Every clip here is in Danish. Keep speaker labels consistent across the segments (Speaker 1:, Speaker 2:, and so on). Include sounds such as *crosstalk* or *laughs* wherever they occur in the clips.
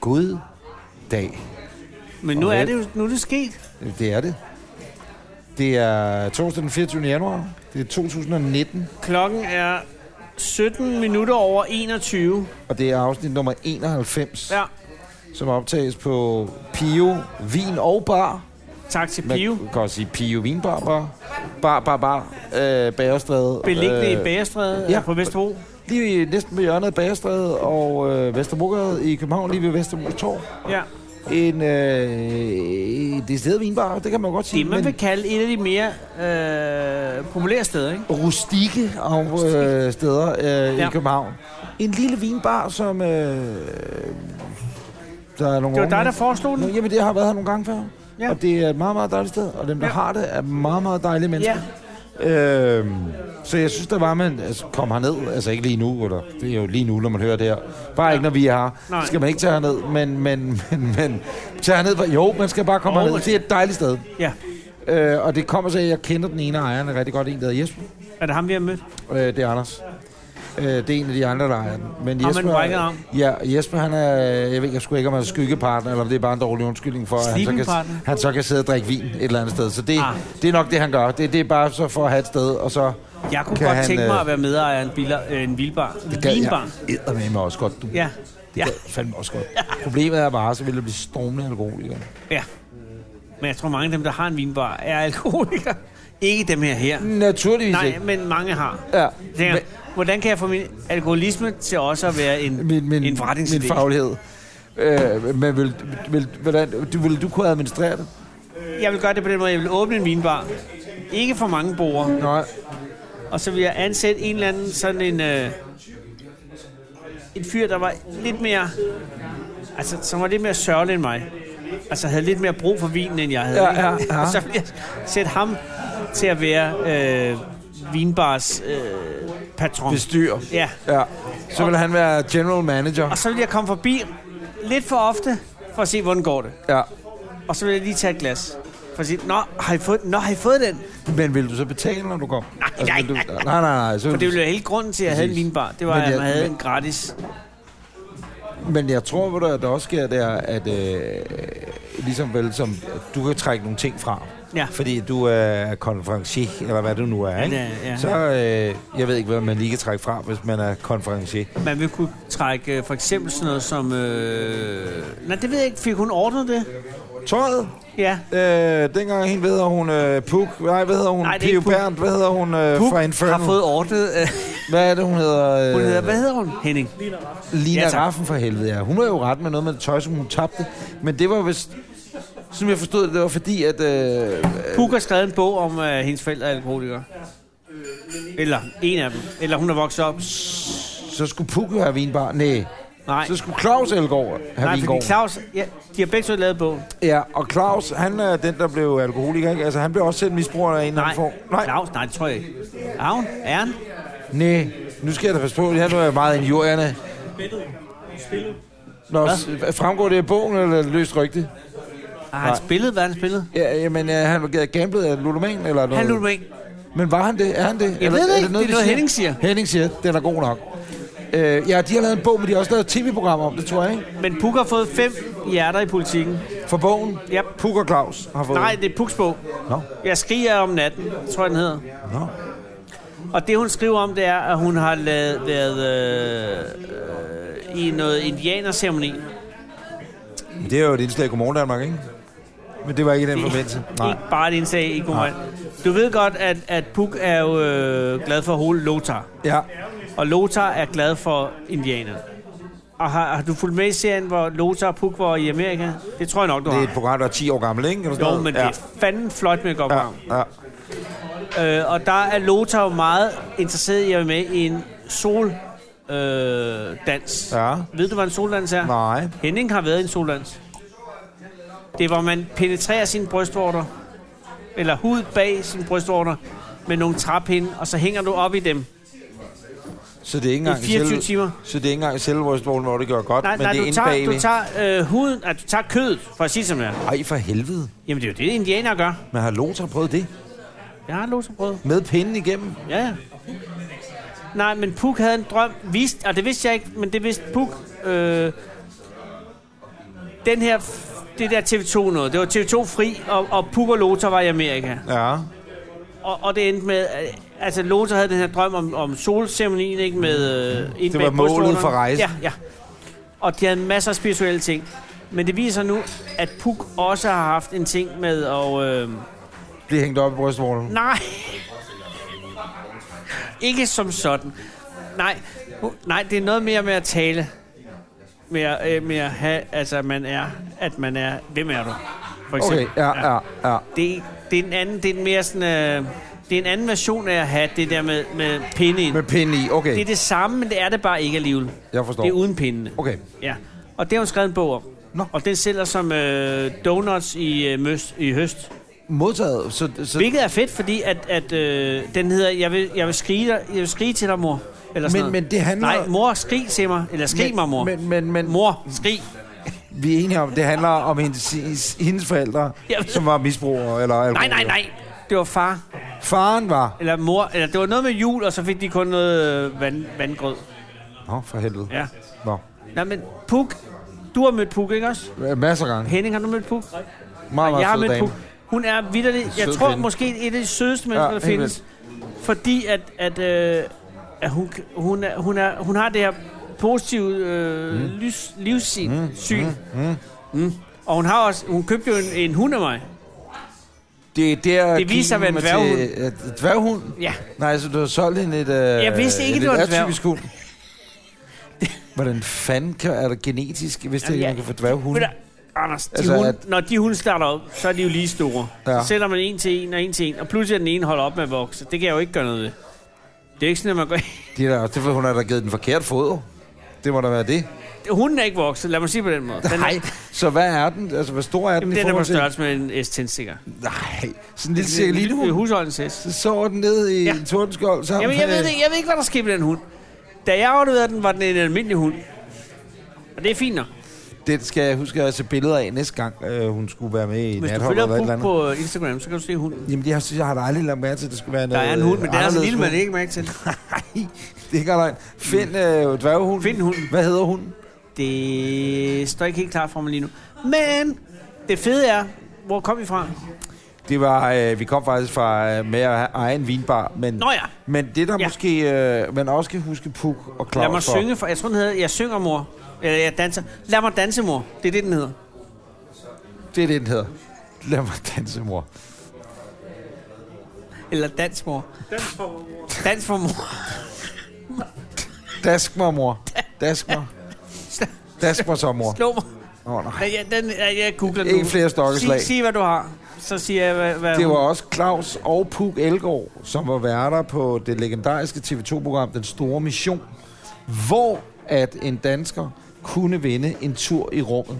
Speaker 1: god dag.
Speaker 2: Men nu
Speaker 1: Og
Speaker 2: er
Speaker 1: vel.
Speaker 2: det jo nu er det sket.
Speaker 1: Det er det. Det er torsdag den 24. januar. Det er 2019,
Speaker 2: Klokken er 17 minutter over 21.
Speaker 1: og det er afsnit nummer 91, ja.
Speaker 2: Ja.
Speaker 1: som optages på Pio Vin og Bar.
Speaker 2: Tak til
Speaker 1: Man
Speaker 2: Pio.
Speaker 1: kan også sige Pio Vin Bar, Bar, Bar, Bar, Bar, øh, Bagerstræde.
Speaker 2: Beliggende i Bagerstræde
Speaker 1: Øh, ja.
Speaker 2: ja. på Vesterbro.
Speaker 1: Lige næsten ved hjørnet af Bagerstræde og øh, Vesterbrogade i København, lige ved Vesterbro Torv.
Speaker 2: Ja.
Speaker 1: En øh, decideret vinbar, det kan man godt sige.
Speaker 2: Det, man vil kalde et af de mere øh, populære steder, ikke?
Speaker 1: rustikke af, øh, steder øh, ja.
Speaker 2: Ja.
Speaker 1: i København. En lille vinbar, som... Øh, der er nogle
Speaker 2: Det var dig,
Speaker 1: unge-
Speaker 2: der foreslog
Speaker 1: Nå,
Speaker 2: den.
Speaker 1: Jamen, det har jeg været her nogle gange før. Ja.
Speaker 2: Ja.
Speaker 1: Og det er et meget, meget dejligt sted. Og dem, der ja.
Speaker 2: Ja.
Speaker 1: har det, er meget, meget dejlige mennesker.
Speaker 2: Ja.
Speaker 1: Ja. Øhm, så jeg synes, der var, man altså, kom herned. Altså ikke lige nu, eller det er jo lige nu, når man hører det her. Bare ja. ikke, når vi er her.
Speaker 2: Nej.
Speaker 1: Skal man ikke tage herned, men, men, men, men tage herned. Jo, man skal bare komme
Speaker 2: Jo,
Speaker 1: oh, herned.
Speaker 2: man
Speaker 1: Det er et dejligt sted.
Speaker 2: Ja.
Speaker 1: Øh, og det kommer så, af, at jeg kender den ene af ejerne rigtig godt. En, der hedder Jesper.
Speaker 2: Er det ham, vi har mødt?
Speaker 1: Øh, det er Anders. Øh, det er en af de andre, der ejer den. Men
Speaker 2: Har man brækket arm?
Speaker 1: Ja, Jesper, han er... Jeg ved jeg sgu ikke, om han er skyggepartner, eller om det er bare en dårlig undskyldning for, at han så, kan,
Speaker 2: Sleepingpartner?
Speaker 1: han så kan sidde og drikke vin et eller andet sted. Så det, ah.
Speaker 2: Ah.
Speaker 1: det er nok det, han gør. Det, det er bare så for at have et sted, og så...
Speaker 2: Jeg kunne
Speaker 1: Kan
Speaker 2: kan godt
Speaker 1: han,
Speaker 2: han, tænke
Speaker 1: øh,
Speaker 2: mig at være medejer af en, biler, øh, en bilbar. En vinbar.
Speaker 1: jeg eddermame også godt, du.
Speaker 2: Ja.
Speaker 1: Det
Speaker 2: Ja.
Speaker 1: gad jeg fandme også godt. Problemet er bare, så vil det blive stormende alkoholiker.
Speaker 2: ja. Men jeg tror, mange af dem, der har en vinbar, er alkoholikere. Ikke dem her her.
Speaker 1: Naturligvis
Speaker 2: Nej,
Speaker 1: ikke.
Speaker 2: men mange har.
Speaker 1: Ja.
Speaker 2: Tænker, jeg, hvordan kan jeg få min alkoholisme til også at være en,
Speaker 1: min, min,
Speaker 2: en
Speaker 1: min
Speaker 2: forretningsidé?
Speaker 1: faglighed. Øh, men vil, vil, hvordan, du, vil du kunne administrere det?
Speaker 2: jeg vil gøre det på den måde, jeg vil åbne en vinbar. Ikke for mange borgere.
Speaker 1: Nej.
Speaker 2: Og så vil jeg ansætte en eller anden sådan en... Øh, en fyr, der var lidt mere... Altså, som var lidt mere sørgelig end mig. Altså, havde lidt mere brug for vinen, end jeg havde.
Speaker 1: Ja,
Speaker 2: ikke?
Speaker 1: ja, ja.
Speaker 2: Og så ville jeg sætte ham til at være øh, vinbars øh, patron.
Speaker 1: Bestyr.
Speaker 2: Ja.
Speaker 1: Ja. Så vil han være general manager.
Speaker 2: Og så vil jeg komme forbi lidt for ofte, for at se, hvordan går det.
Speaker 1: Ja.
Speaker 2: Og så vil jeg lige tage et glas. For at sige, nå, har I fået, nå, har I fået den?
Speaker 1: Men vil du så betale, når du kom?
Speaker 2: Nej, nej,
Speaker 1: vil du,
Speaker 2: nej,
Speaker 1: nej, nej, nej. Så
Speaker 2: For
Speaker 1: vil du,
Speaker 2: det ville være hele grunden til, at jeg havde en
Speaker 1: Præcis.
Speaker 2: vinbar. Det var,
Speaker 1: Men
Speaker 2: at
Speaker 1: jeg-
Speaker 2: man havde
Speaker 1: men-
Speaker 2: en gratis.
Speaker 1: men jeg tror, hvor der, der også sker, det er, at øh, ligesom vel, som, at du kan trække nogle ting fra.
Speaker 2: Ja.
Speaker 1: Fordi du er konferencier, eller hvad du nu er, ikke?
Speaker 2: Ja, ja.
Speaker 1: Så øh, jeg ved ikke, hvad man lige kan trække fra, hvis man er konferencier.
Speaker 2: Man ville kunne trække øh, for eksempel sådan noget som... Øh... Nej, det ved jeg ikke. Fik hun ordnet det?
Speaker 1: Tøjet,
Speaker 2: Ja.
Speaker 1: øh, dengang hende hedder hun øh, Puk, nej, hvad hedder hun?
Speaker 2: Nej, det er ikke
Speaker 1: Pio
Speaker 2: Puk.
Speaker 1: Berndt, hvad hedder hun øh,
Speaker 2: Puk
Speaker 1: fra Inferno?
Speaker 2: har fået ordnet... Øh,
Speaker 1: Hvad er det, hun hedder? Øh,
Speaker 2: hun hedder, hvad hedder hun? Henning.
Speaker 1: Lina
Speaker 2: Ja,
Speaker 1: ja,
Speaker 2: tak.
Speaker 1: Raffen for helvede, ja. Hun var jo ret med noget med det tøj, som hun tabte. Men det var vist... Som jeg forstod det, det var fordi, at... Øh,
Speaker 2: Puk har skrevet en bog om, at øh, hendes forældre er alkoholikere. Eller en af dem. Eller hun er vokset op.
Speaker 1: så skulle Puk jo have vinbar. Nej.
Speaker 2: Nej,
Speaker 1: Så skulle Claus Elgaard have
Speaker 2: nej fordi
Speaker 1: vingård.
Speaker 2: Claus... Ja, de har begge to lavet bog.
Speaker 1: Ja, og Claus, han er den, der blev alkoholiker, ikke? Altså, han blev også selv misbruger af en eller
Speaker 2: Nej,
Speaker 1: anden form. Nej.
Speaker 2: nej. Claus, nej, det tror jeg ikke. Er hun? Er han?
Speaker 1: Nej. Nu skal jeg da passe på. Her nu er jeg meget injurierne. Nå, s- fremgår det af bogen eller er det løst rygte?
Speaker 2: Har han spillet? Hvad har han spillet?
Speaker 1: Ja, jamen, øh, han var gamblet af ludoman eller noget?
Speaker 2: Han lutter mig ikke.
Speaker 1: Men var han det? Er han det? Jeg
Speaker 2: ved det ikke. Det er noget, Henning siger.
Speaker 1: Henning siger, den er god nok. Øh, ja, de har lavet en bog, men de har også lavet et tv-program om det, tror jeg, ikke?
Speaker 2: Men Puk har fået fem hjerter i politikken.
Speaker 1: For bogen.
Speaker 2: Yep.
Speaker 1: Puk og Claus har fået...
Speaker 2: Nej, det er Puks bog.
Speaker 1: Nå.
Speaker 2: Jeg skriger om natten, tror jeg, den hedder.
Speaker 1: Nå.
Speaker 2: Og det, hun skriver om, det er, at hun har lavet, været øh, øh, i noget indianerceremoni.
Speaker 1: Men Det er jo et indslag i Godmorgen Danmark, ikke? Men det var ikke i den forbindelse. Nej.
Speaker 2: Ikke bare et indslag i Godmorgen. Du ved godt, at, at Puk er jo øh, glad for Hol Lothar.
Speaker 1: Ja.
Speaker 2: Og Lothar er glad for indianerne. Og har, har du fulgt med i serien, hvor Lothar og Puk var i Amerika? Det tror jeg nok, du
Speaker 1: Det er
Speaker 2: har.
Speaker 1: et program, der er 10 år gammel, ikke? Eller sådan
Speaker 2: Jo,
Speaker 1: noget.
Speaker 2: men
Speaker 1: ja.
Speaker 2: det er fanden flot med at gå
Speaker 1: Ja,
Speaker 2: ja.
Speaker 1: ja.
Speaker 2: Øh, og der er Lothar jo meget interesseret i at være med i en soldans. Øh, dans.
Speaker 1: Ja.
Speaker 2: Ved du, hvad en soldans er?
Speaker 1: Nej.
Speaker 2: Henning har været i en soldans. Det er, hvor man penetrerer sine brystvorter, eller hud bag sine brystvorter, med nogle træpinde, og så hænger du op i dem.
Speaker 1: Så det er ikke engang
Speaker 2: I 24
Speaker 1: selve-
Speaker 2: timer.
Speaker 1: Så det er ikke engang selve brystvorten, hvor det gør godt,
Speaker 2: Nej,
Speaker 1: men
Speaker 2: nej,
Speaker 1: det er
Speaker 2: du
Speaker 1: inde
Speaker 2: tager,
Speaker 1: bagved.
Speaker 2: du tager øh, huden, at du tager kødet, for at sige det, som det er.
Speaker 1: Ej, for helvede.
Speaker 2: Jamen, det er jo det, indianere gør.
Speaker 1: Men har Lothar prøvet det?
Speaker 2: Jeg har losebrød.
Speaker 1: Med pinden igennem?
Speaker 2: Ja, ja. Nej, men Puk havde en drøm. Vist, og det vidste jeg ikke, men det vidste Puk. Øh, den her, det der TV2 noget, det var TV2 Fri, og, og Puk og Lothar var i Amerika.
Speaker 1: Ja.
Speaker 2: Og, og det endte med, øh, altså Lothar havde den her drøm om, om solceremonien, ikke? Med, øh, ind
Speaker 1: Det
Speaker 2: bag
Speaker 1: var målet
Speaker 2: brystvorterne.
Speaker 1: for rejsen.
Speaker 2: Ja, ja. Og de havde masser af spirituelle ting. Men det viser nu, at Puk også har haft en ting med og øh,
Speaker 1: Blive hængt op i brystvorten.
Speaker 2: Nej. Ikke som sådan. Nej. Hun- Nej, det er noget mere med at tale. Med at, øh, med at have, altså at man er, at man er, hvem er du? For
Speaker 1: Okay, ja, ja, ja.
Speaker 2: Det, det er en anden, det er en mere sådan, øh, det er en anden version af at have det der med, med pinde ind.
Speaker 1: Med pinde i,
Speaker 2: Det er
Speaker 1: okay.
Speaker 2: det samme, men det er det bare ikke alligevel.
Speaker 1: Jeg forstår.
Speaker 2: Det er uden pindene.
Speaker 1: Okay.
Speaker 2: Ja. Og det har hun skrevet en bog om.
Speaker 1: Nå.
Speaker 2: Og den sælger som øh, donuts i, øh, møst, i høst.
Speaker 1: Modtaget, så... så
Speaker 2: Hvilket er fedt, fordi at, at øh, den hedder, jeg vil, jeg, vil skrige dig, jeg vil skrige til dig, mor. Eller sådan
Speaker 1: Men-
Speaker 2: noget.
Speaker 1: men det handler-
Speaker 2: Nej, mor, skrig til mig. Eller skrig mig, mor.
Speaker 1: Men, men, men,
Speaker 2: Mor, skrig.
Speaker 1: vi er enige om, det handler om hendes, hendes forældre,
Speaker 2: Ja.
Speaker 1: som var misbrugere eller
Speaker 2: Nej,
Speaker 1: alkohol.
Speaker 2: nej, nej. Det var far.
Speaker 1: Faren var...
Speaker 2: Eller mor. Eller det var noget med jul, og så fik de kun noget øh, vand, vandgrød.
Speaker 1: Nå, for helvede.
Speaker 2: Ja.
Speaker 1: Nå.
Speaker 2: Nej, men Puk. Du har mødt Puk, ikke også?
Speaker 1: Masser af gange.
Speaker 2: Henning, har du mødt Puk? Nej.
Speaker 1: Meget, meget
Speaker 2: jeg har
Speaker 1: sød
Speaker 2: mødt
Speaker 1: dame.
Speaker 2: Puk. Hun er vidderlig. Jeg
Speaker 1: Sød
Speaker 2: tror
Speaker 1: kvinde.
Speaker 2: måske et af de sødeste mennesker,
Speaker 1: Ja, helt
Speaker 2: der findes. Fordi at, at, øh, at hun, hun, er, hun, er, hun har det her positive øh, mm. lys, livssyn. Mm. Syn. Mm. Mm. Og hun har også, hun købte jo en, en hund af mig.
Speaker 1: Det, er der,
Speaker 2: Det viser at være en
Speaker 1: dværghund. dværghund?
Speaker 2: Ja.
Speaker 1: Nej, så du har solgt hende et... Øh, jeg
Speaker 2: vidste ikke, det var en dværg.
Speaker 1: atypisk hund. Hvordan fanden kan, er det genetisk, hvis det
Speaker 2: Jamen,
Speaker 1: er,
Speaker 2: ja.
Speaker 1: man kan få dværghund?
Speaker 2: Ved du, Anders, de altså,
Speaker 1: Altså,
Speaker 2: hunde, at...
Speaker 1: at-
Speaker 2: når de hunde starter op, så er de jo lige store. Ja.
Speaker 1: Ja.
Speaker 2: Så sælger man en til en og en til en, og pludselig er den ene holder op med at vokse. Det kan jeg jo ikke gøre noget ved. Det er jo ikke sådan, at man går... *laughs*
Speaker 1: Det er da også derfor, hun har da givet den forkerte fod. Det må da være det.
Speaker 2: Hunden er ikke vokset, lad mig sige på den måde. Den er-
Speaker 1: Nej, så hvad er den? Altså, hvor stor er den
Speaker 2: Jamen,
Speaker 1: i
Speaker 2: den er på
Speaker 1: forhold til...
Speaker 2: størrelse med en S10 sikker.
Speaker 1: Nej, sådan en lille cirkeline
Speaker 2: Det er
Speaker 1: hund.
Speaker 2: husholdens hest.
Speaker 1: Så sover den ned i
Speaker 2: Ja.
Speaker 1: ja. en tordenskjold sammen
Speaker 2: Jamen, jeg ved,
Speaker 1: med-
Speaker 2: det, jeg ved ikke, hvad der sker med den hund. Da jeg afleverede den, var den en almindelig hund. Og det er fint nok.
Speaker 1: Den skal jeg huske at se billeder af næste gang, øh, hun skulle være med i
Speaker 2: Hvis du
Speaker 1: natholdet
Speaker 2: følger
Speaker 1: eller et eller
Speaker 2: Puk
Speaker 1: andet. På...
Speaker 2: på Instagram, så kan du se hunden.
Speaker 1: Jamen, jeg, synes, jeg har da aldrig lagt mærke til, at det skulle være
Speaker 2: Der
Speaker 1: noget øh,
Speaker 2: er en hund, men den er så
Speaker 1: anderledes
Speaker 2: lille, man
Speaker 1: hund.
Speaker 2: ikke mærke til.
Speaker 1: *laughs* Nej, det er ikke løgn. Find øh, dværgehunden.
Speaker 2: Find hunden.
Speaker 1: Hvad hedder hunden?
Speaker 2: Det står ikke helt klart for mig lige nu. Men det fede er, hvor kom vi fra?
Speaker 1: Det var, øh, vi kom faktisk fra øh, med at have egen vinbar, men,
Speaker 2: Nå ja,
Speaker 1: men det der
Speaker 2: Ja.
Speaker 1: ja. måske, øh, man også skal huske Puk og Claus
Speaker 2: lad mig
Speaker 1: for.
Speaker 2: synge for... Jeg tror, den hedder Jeg synger, mor. Eller jeg danser. Lad mig danse, mor. Det er det, den hedder.
Speaker 1: Det er det, den hedder. Lad mig danse, mor.
Speaker 2: Eller dans, mor. Dans for mor.
Speaker 1: Dask mig, mor. Dask mig. Dask mig så, mor.
Speaker 2: Slå mig.
Speaker 1: Åh, oh, nej.
Speaker 2: Nej, jeg, den, jeg, jeg googler den
Speaker 1: Ikke
Speaker 2: nu.
Speaker 1: flere stokkeslag.
Speaker 2: Sig, sig, hvad du har. Så siger jeg, hvad, hvad
Speaker 1: Det var
Speaker 2: hun-
Speaker 1: også Claus og Puk Elgård, som var værter på det legendariske TV2-program Den Store Mission, hvor at en dansker kunne vinde en tur i rummet.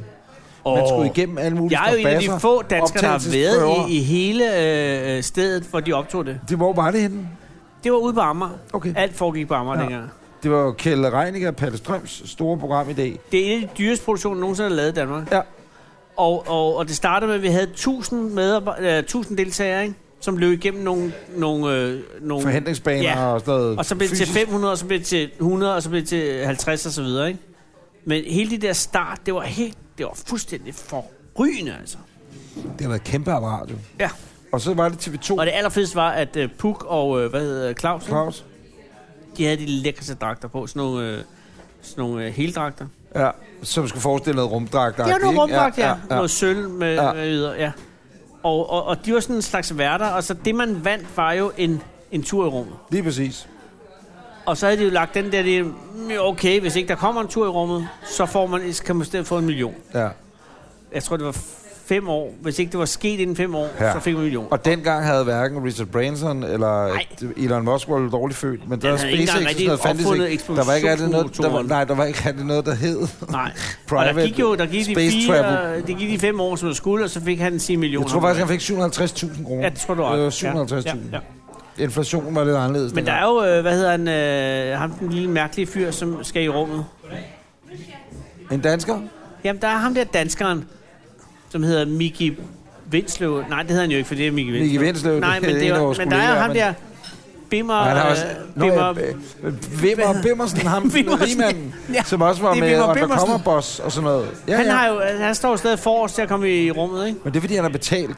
Speaker 1: Man
Speaker 2: Åh.
Speaker 1: skulle igennem alle mulige
Speaker 2: Jeg er jo en af de
Speaker 1: strabadser,
Speaker 2: få danskere, der har været
Speaker 1: optagelsesprøver.
Speaker 2: i, i hele øh, øh, stedet, hvor de optog det.
Speaker 1: Det, hvor var det henne?
Speaker 2: Det var ude på Amager.
Speaker 1: Okay.
Speaker 2: Alt foregik på Amager ja.
Speaker 1: Ja.
Speaker 2: dengang.
Speaker 1: Det var Kjell Reinicke og Palle Strøms store program i dag.
Speaker 2: Det er en af de dyreste produktioner, nogensinde har lavet i Danmark.
Speaker 1: Ja.
Speaker 2: Og, og, og det startede med, at vi havde 1000, medarbej- øh, 1000 deltagere, ikke? som løb igennem nogle... nogle, øh, nogle
Speaker 1: Forhandlingsbaner
Speaker 2: Ja.
Speaker 1: og sådan noget.
Speaker 2: Og så blev det til
Speaker 1: fysisk.
Speaker 2: 500, og så blev det til 100, og så blev det til 50 og så videre, ikke? Men hele det der start, det var helt, det var fuldstændig forrygende, altså.
Speaker 1: Det har været et kæmpe apparat, jo.
Speaker 2: Ja.
Speaker 1: Og så var det TV2.
Speaker 2: Og det allerfedeste var, at uh, Puk og, uh, hvad hedder Claus, ikke?
Speaker 1: Claus.
Speaker 2: de havde de lækreste dragter på, sådan nogle, uh, sådan nogle uh, heldragter.
Speaker 1: Ja, som skulle forestille noget rumdragt.
Speaker 2: Det var nogle rumdragter, ja, ja, ja.
Speaker 1: ja.
Speaker 2: Noget sølv med, ja.
Speaker 1: Ja.
Speaker 2: med videre, ja. Og, og, og de var sådan en slags værter, og så det, man vandt, var jo en, en tur i rummet.
Speaker 1: Lige præcis.
Speaker 2: Og så havde de jo lagt den der, det, "Mm, okay, hvis ikke der kommer en tur i rummet, så får man, kan man i stedet få en million.
Speaker 1: Ja.
Speaker 2: jeg tror, det var fem år. Hvis ikke det var sket inden fem år, ja.
Speaker 1: Ja.
Speaker 2: så fik man en million.
Speaker 1: Og dengang havde hverken Richard Branson eller
Speaker 2: Nej.
Speaker 1: Elon Musk var lidt dårligt født, men der var
Speaker 2: havde ikke
Speaker 1: SpaceX og
Speaker 2: engang
Speaker 1: sådan
Speaker 2: rigtig
Speaker 1: noget fandtes
Speaker 2: opfundet
Speaker 1: ikke. Der var ikke rigtig noget, der var,
Speaker 2: eksplosionsmotoren.
Speaker 1: nej, der var ikke rigtig noget, der hed.
Speaker 2: Nej. og
Speaker 1: *laughs* Private
Speaker 2: der gik jo der gik de,
Speaker 1: space
Speaker 2: fire,
Speaker 1: travel.
Speaker 2: det gik de fem år, som der skulle, og så fik han 10 millioner.
Speaker 1: Jeg tror faktisk, han Øh, fik 750.000 kroner.
Speaker 2: Ja, det tror du også.
Speaker 1: Det var
Speaker 2: Ja,
Speaker 1: 750.000.
Speaker 2: ja,
Speaker 1: Inflationen var lidt anderledes.
Speaker 2: Men der er jo, øh, hvad hedder han, øh, ham den lille mærkelige fyr, som skal i rummet.
Speaker 1: dengang. En dansker?
Speaker 2: Jamen, der er ham der danskeren, som hedder Miki Vinsløv. Nej, det hedder han jo ikke, for det er Miki Vinsløv.
Speaker 1: Vinsløv,
Speaker 2: Nej,
Speaker 1: det
Speaker 2: men,
Speaker 1: er
Speaker 2: det
Speaker 1: en af
Speaker 2: var,
Speaker 1: vores
Speaker 2: men der er
Speaker 1: kollegaer,
Speaker 2: ham
Speaker 1: men-
Speaker 2: der, Bimmer...
Speaker 1: Og han har
Speaker 2: øh,
Speaker 1: også... Nå, ja, øh,
Speaker 2: *laughs*
Speaker 1: Vimmer Bimmersen, ham
Speaker 2: Bimmersen.
Speaker 1: rigmanden,
Speaker 2: Ja,
Speaker 1: ja. som også var
Speaker 2: det er
Speaker 1: med,
Speaker 2: Wimmer
Speaker 1: og der
Speaker 2: Bimmersen.
Speaker 1: kommer boss og sådan noget. Ja,
Speaker 2: han,
Speaker 1: ja.
Speaker 2: har jo, han står stadig forrest til at komme i rummet, ikke?
Speaker 1: Men det er, fordi han har betalt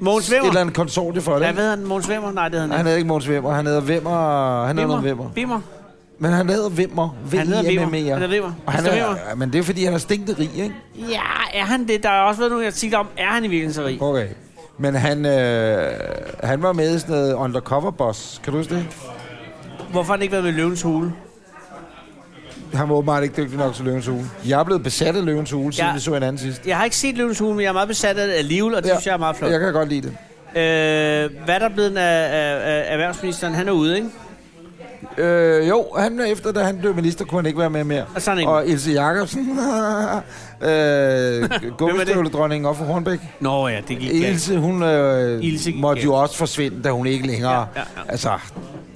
Speaker 2: Mogens
Speaker 1: et eller
Speaker 2: Vemmer.
Speaker 1: andet konsortie for det.
Speaker 2: Ja,
Speaker 1: ikke?
Speaker 2: hvad hedder han? Mogens Vemmer? Nej, det hedder
Speaker 1: Han
Speaker 2: han ikke.
Speaker 1: hedder ikke Måns Vimmer, han hedder Vimmer... Han hedder noget Vimmer.
Speaker 2: Bimmer.
Speaker 1: Men han hedder Vimmer.
Speaker 2: Han hedder Vimmer.
Speaker 1: V-I-M-M-E-R.
Speaker 2: Han hedder Vimmer.
Speaker 1: Og E han
Speaker 2: Mr.
Speaker 1: er, men det er, fordi han er stinket rig, ikke?
Speaker 2: Ja, er han det? Der har også været nogle artikler om, er han i virkeligheden så rig?
Speaker 1: Okay. Men han, øh, han var med i sådan noget undercover boss. Kan du huske det?
Speaker 2: Hvorfor har han ikke været med i Løvens Hule?
Speaker 1: Han var åbenbart ikke dygtig nok til Løvens Hule. Jeg er blevet besat af Løvens Hule, siden
Speaker 2: Ja.
Speaker 1: ja. vi så hinanden sidst.
Speaker 2: Jeg har ikke set Løvens Hule, men jeg er meget besat af det alligevel, og det ja. synes jeg er meget flot.
Speaker 1: Jeg kan godt lide det.
Speaker 2: Øh, hvad er der blevet af, af, af erhvervsministeren? Han er ude, ikke?
Speaker 1: Øh, jo, han er efter, da han blev minister, kunne han ikke være med mere.
Speaker 2: Og så er han ikke
Speaker 1: Og Ilse *laughs* Jacobsen, øh, gummistøvledronningen op for Hornbæk.
Speaker 2: Nå ja, det gik galt.
Speaker 1: Ilse, hun øh,
Speaker 2: Ilse
Speaker 1: Ilse
Speaker 2: gik
Speaker 1: måtte
Speaker 2: galt.
Speaker 1: jo også forsvinde, da hun ikke længere...
Speaker 2: Ja, ja, ja.
Speaker 1: Altså,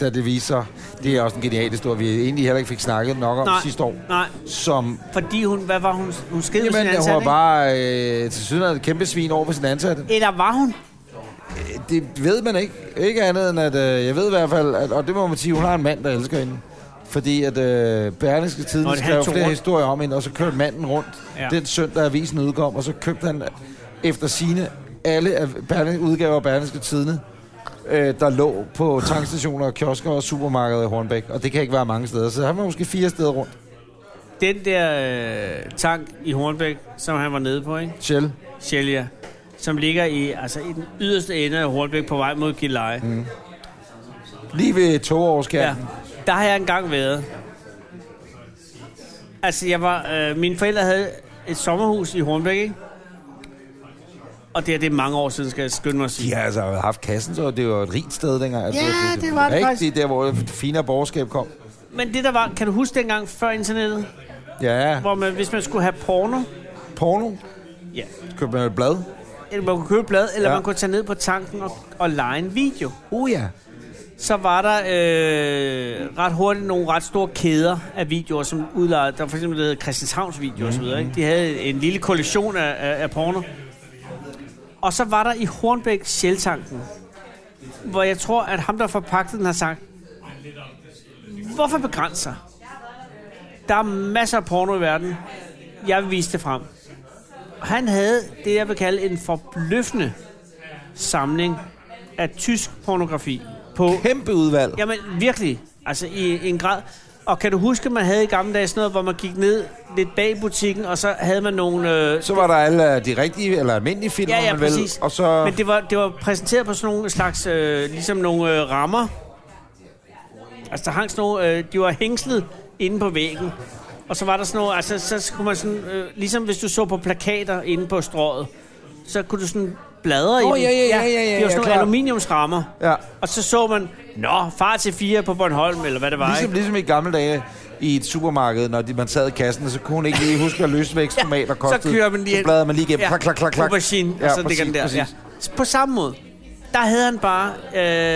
Speaker 1: da det viser... Det er også en genial historie, vi egentlig heller ikke fik snakket nok om
Speaker 2: Nej,
Speaker 1: sidste år.
Speaker 2: nej.
Speaker 1: Som
Speaker 2: Fordi hun, hvad var hun? Hun sked med sin
Speaker 1: Jamen, hun
Speaker 2: ansatte,
Speaker 1: var
Speaker 2: ikke?
Speaker 1: bare øh, til siden et kæmpe svin over for sin ansatte.
Speaker 2: Eller var hun?
Speaker 1: Øh, Det ved man ikke. Ikke andet end, at øh, jeg ved i hvert fald, at, og det må man sige, hun har en mand, der elsker hende. Fordi at øh, Berlingske
Speaker 2: Nå,
Speaker 1: Tiden
Speaker 2: det er han
Speaker 1: skrev
Speaker 2: tog
Speaker 1: flere
Speaker 2: rundt.
Speaker 1: historier om hende, og så kørte manden rundt
Speaker 2: Ja.
Speaker 1: ja. den søndag, avisen udkom, og så købte han efter sine alle af Berling, udgaver af Berlingske Tidene, øh, der lå på tankstationer, kiosker og supermarkeder i Hornbæk. Og det kan ikke være mange steder, så han var måske fire steder rundt.
Speaker 2: Den der øh, tank i Hornbæk, som han var nede på, ikke?
Speaker 1: Shell.
Speaker 2: Sjælja. Som ligger i, altså, i den yderste ende af Hornbæk på vej mod Gilleleje. Mm.
Speaker 1: Lige ved toårskærten. Ja.
Speaker 2: Der har jeg engang været. Altså, jeg var, øh, mine forældre havde et sommerhus i Hornbæk, ikke? Og det er det er mange år siden, skal jeg skynde mig at sige.
Speaker 1: De har altså haft kassen, så det var et rigt sted dengang. Altså,
Speaker 2: Ja, det var det
Speaker 1: Ikke
Speaker 2: faktisk.
Speaker 1: det der, hvor det finere borgerskab kom.
Speaker 2: Men det der var, kan du huske dengang før internettet,
Speaker 1: Ja,
Speaker 2: hvor man, hvis man skulle have porno,
Speaker 1: porno.
Speaker 2: ja,
Speaker 1: Købte man et blad.
Speaker 2: eller man kunne købe blad, eller ja.
Speaker 1: Ja.
Speaker 2: man kunne tage ned på tanken og, og lege en video.
Speaker 1: Uh ja.
Speaker 2: Så var der øh, ret hurtigt nogle ret store kæder af videoer, som udlejede. Der var for eksempel det hed Christianshavns video osv. Ikke? De havde en lille kollektion af, af, af porno. Og så var der i Hornbæk Sjæltanken, hvor jeg tror, at ham, der forpagtede den, har sagt, hvorfor begrænse sig? Der er masser af porno i verden. Jeg vil vise det frem. Og Han havde det, jeg vil kalde en forbløffende samling af tysk pornografi på
Speaker 1: Kæmpe udvalg.
Speaker 2: Jamen virkelig, altså i en grad. Og kan du huske, man havde i gamle dage sådan noget, hvor man gik ned lidt bag butikken, og så havde man nogle... Øh,
Speaker 1: Så var der alle øh, de rigtige, eller almindelige film,
Speaker 2: Ja, ja,
Speaker 1: man vel.
Speaker 2: præcis.
Speaker 1: Og så...
Speaker 2: men det var, det var præsenteret på sådan nogle slags, øh, ligesom nogle øh, rammer. Altså der hang sådan nogle, øh, de var hængslet inde på væggen. Og så var der sådan nogle, altså så skulle man sådan, øh, ligesom hvis du så på plakater inde på strået, så kunne du sådan bladre
Speaker 1: Åh,
Speaker 2: i
Speaker 1: ja,
Speaker 2: dem.
Speaker 1: ja, ja, ja, ja,
Speaker 2: De
Speaker 1: ja,
Speaker 2: var sådan nogle
Speaker 1: klart.
Speaker 2: aluminiumsrammer.
Speaker 1: Ja.
Speaker 2: Og så så man, nå, far til fire på Bornholm, eller hvad det var, ikke?
Speaker 1: Ligesom, ligesom i gamle dage i et supermarked, når de, man sad i kassen, så kunne hun ikke lige
Speaker 2: *laughs*
Speaker 1: huske at løsvæksttomater kostede.
Speaker 2: kører man lige
Speaker 1: Så bladrede man lige igennem. Klak, klak, klak, klak.
Speaker 2: Aubergine, ja, og så ligger den der. Ja. På samme måde, der havde han bare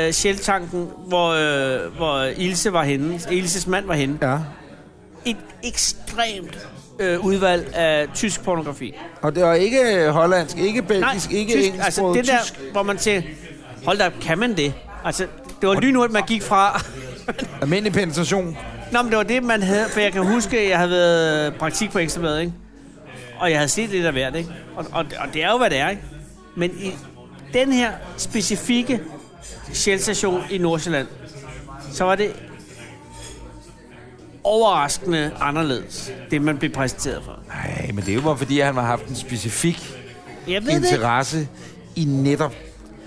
Speaker 2: øh, sjæltanken, hvor, øh, hvor Ilse var henne, Ilses mand var henne.
Speaker 1: Ja.
Speaker 2: Et ekstremt øh, udvalg af tysk pornografi.
Speaker 1: Og det var ikke øh, hollandsk, ikke belgisk, ikke
Speaker 2: tysk,
Speaker 1: engelsk,
Speaker 2: altså det der,
Speaker 1: tysk.
Speaker 2: hvor man siger, hold da op, kan man det? Altså, det var lynhurtigt, man gik fra...
Speaker 1: Almindelig penetration.
Speaker 2: Nå, men det var det, man havde, for jeg kan huske, at jeg havde været praktik på Ekstrabladet, ikke? Og jeg havde set lidt af hvert, ikke? Og, og, og det er jo, hvad det er, ikke? Men i den her specifikke sjælstation i Nordsjælland, så var det overraskende anderledes, det man blev præsenteret for.
Speaker 1: Nej, men det er jo bare fordi, han har haft en specifik
Speaker 2: Jeg ved det. ikke.
Speaker 1: interesse i netop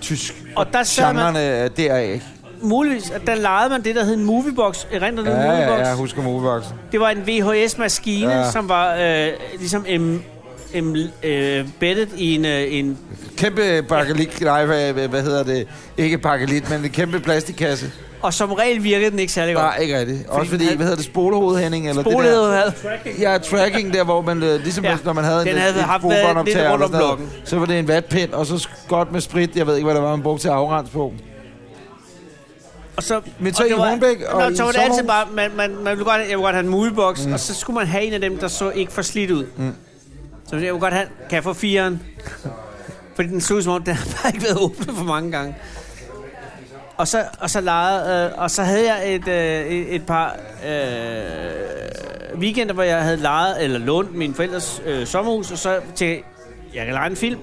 Speaker 1: tysk.
Speaker 2: Og der sad man- Øh,
Speaker 1: Genrerne er deraf, ikke?
Speaker 2: Muligvis, at der lejede man det, der hed en moviebox. Erindrer du en
Speaker 1: Ja, ja,
Speaker 2: moviebox?
Speaker 1: ja, jeg husker movieboxen.
Speaker 2: Det var en VHS-maskine, ja.
Speaker 1: Ja.
Speaker 2: som var øh, ligesom em, em, øh, bettet i en, øh, en
Speaker 1: Kæmpe bakkelit, nej, hvad, hvad- hvad hedder det? Ikke bakkelit, men en kæmpe plastikkasse.
Speaker 2: Og som regel virkede den ikke særlig godt.
Speaker 1: Nej, ikke rigtigt. Også fordi,
Speaker 2: han-
Speaker 1: hvad hedder det, spolehoved, Henning? Eller
Speaker 2: Spolehoved
Speaker 1: det der, Ja, tracking der, hvor man, øh, ligesom
Speaker 2: Ja,
Speaker 1: ja, når man havde
Speaker 2: den
Speaker 1: en,
Speaker 2: havde
Speaker 1: en
Speaker 2: haft været lidt
Speaker 1: fodbåndoptager eller
Speaker 2: rundt om
Speaker 1: sådan noget,
Speaker 2: blokken.
Speaker 1: Så var det en vatpind, og så sk- godt med sprit. Jeg ved ikke, hvad der var, man brugte til at afrense på.
Speaker 2: Og så,
Speaker 1: Men så
Speaker 2: og det
Speaker 1: i
Speaker 2: var-
Speaker 1: Hornbæk og
Speaker 2: Nå,
Speaker 1: i
Speaker 2: så var det altid
Speaker 1: Sommerhus?
Speaker 2: bare, man, man, man ville godt, jeg ville godt have en muleboks, mm. og så skulle man have en af dem, der så ikke for slidt ud. Mm. Så jeg ville godt have, kan jeg få
Speaker 1: *laughs*
Speaker 2: firen? Fordi den så ud som om, den har bare ikke været åbnet for mange gange. Og så, og så, lejede, øh, og så havde jeg et, øh, et- et par øh, weekender, hvor jeg havde lejet eller lånt min forældres øh, sommerhus, og så til, jeg kan lege en film.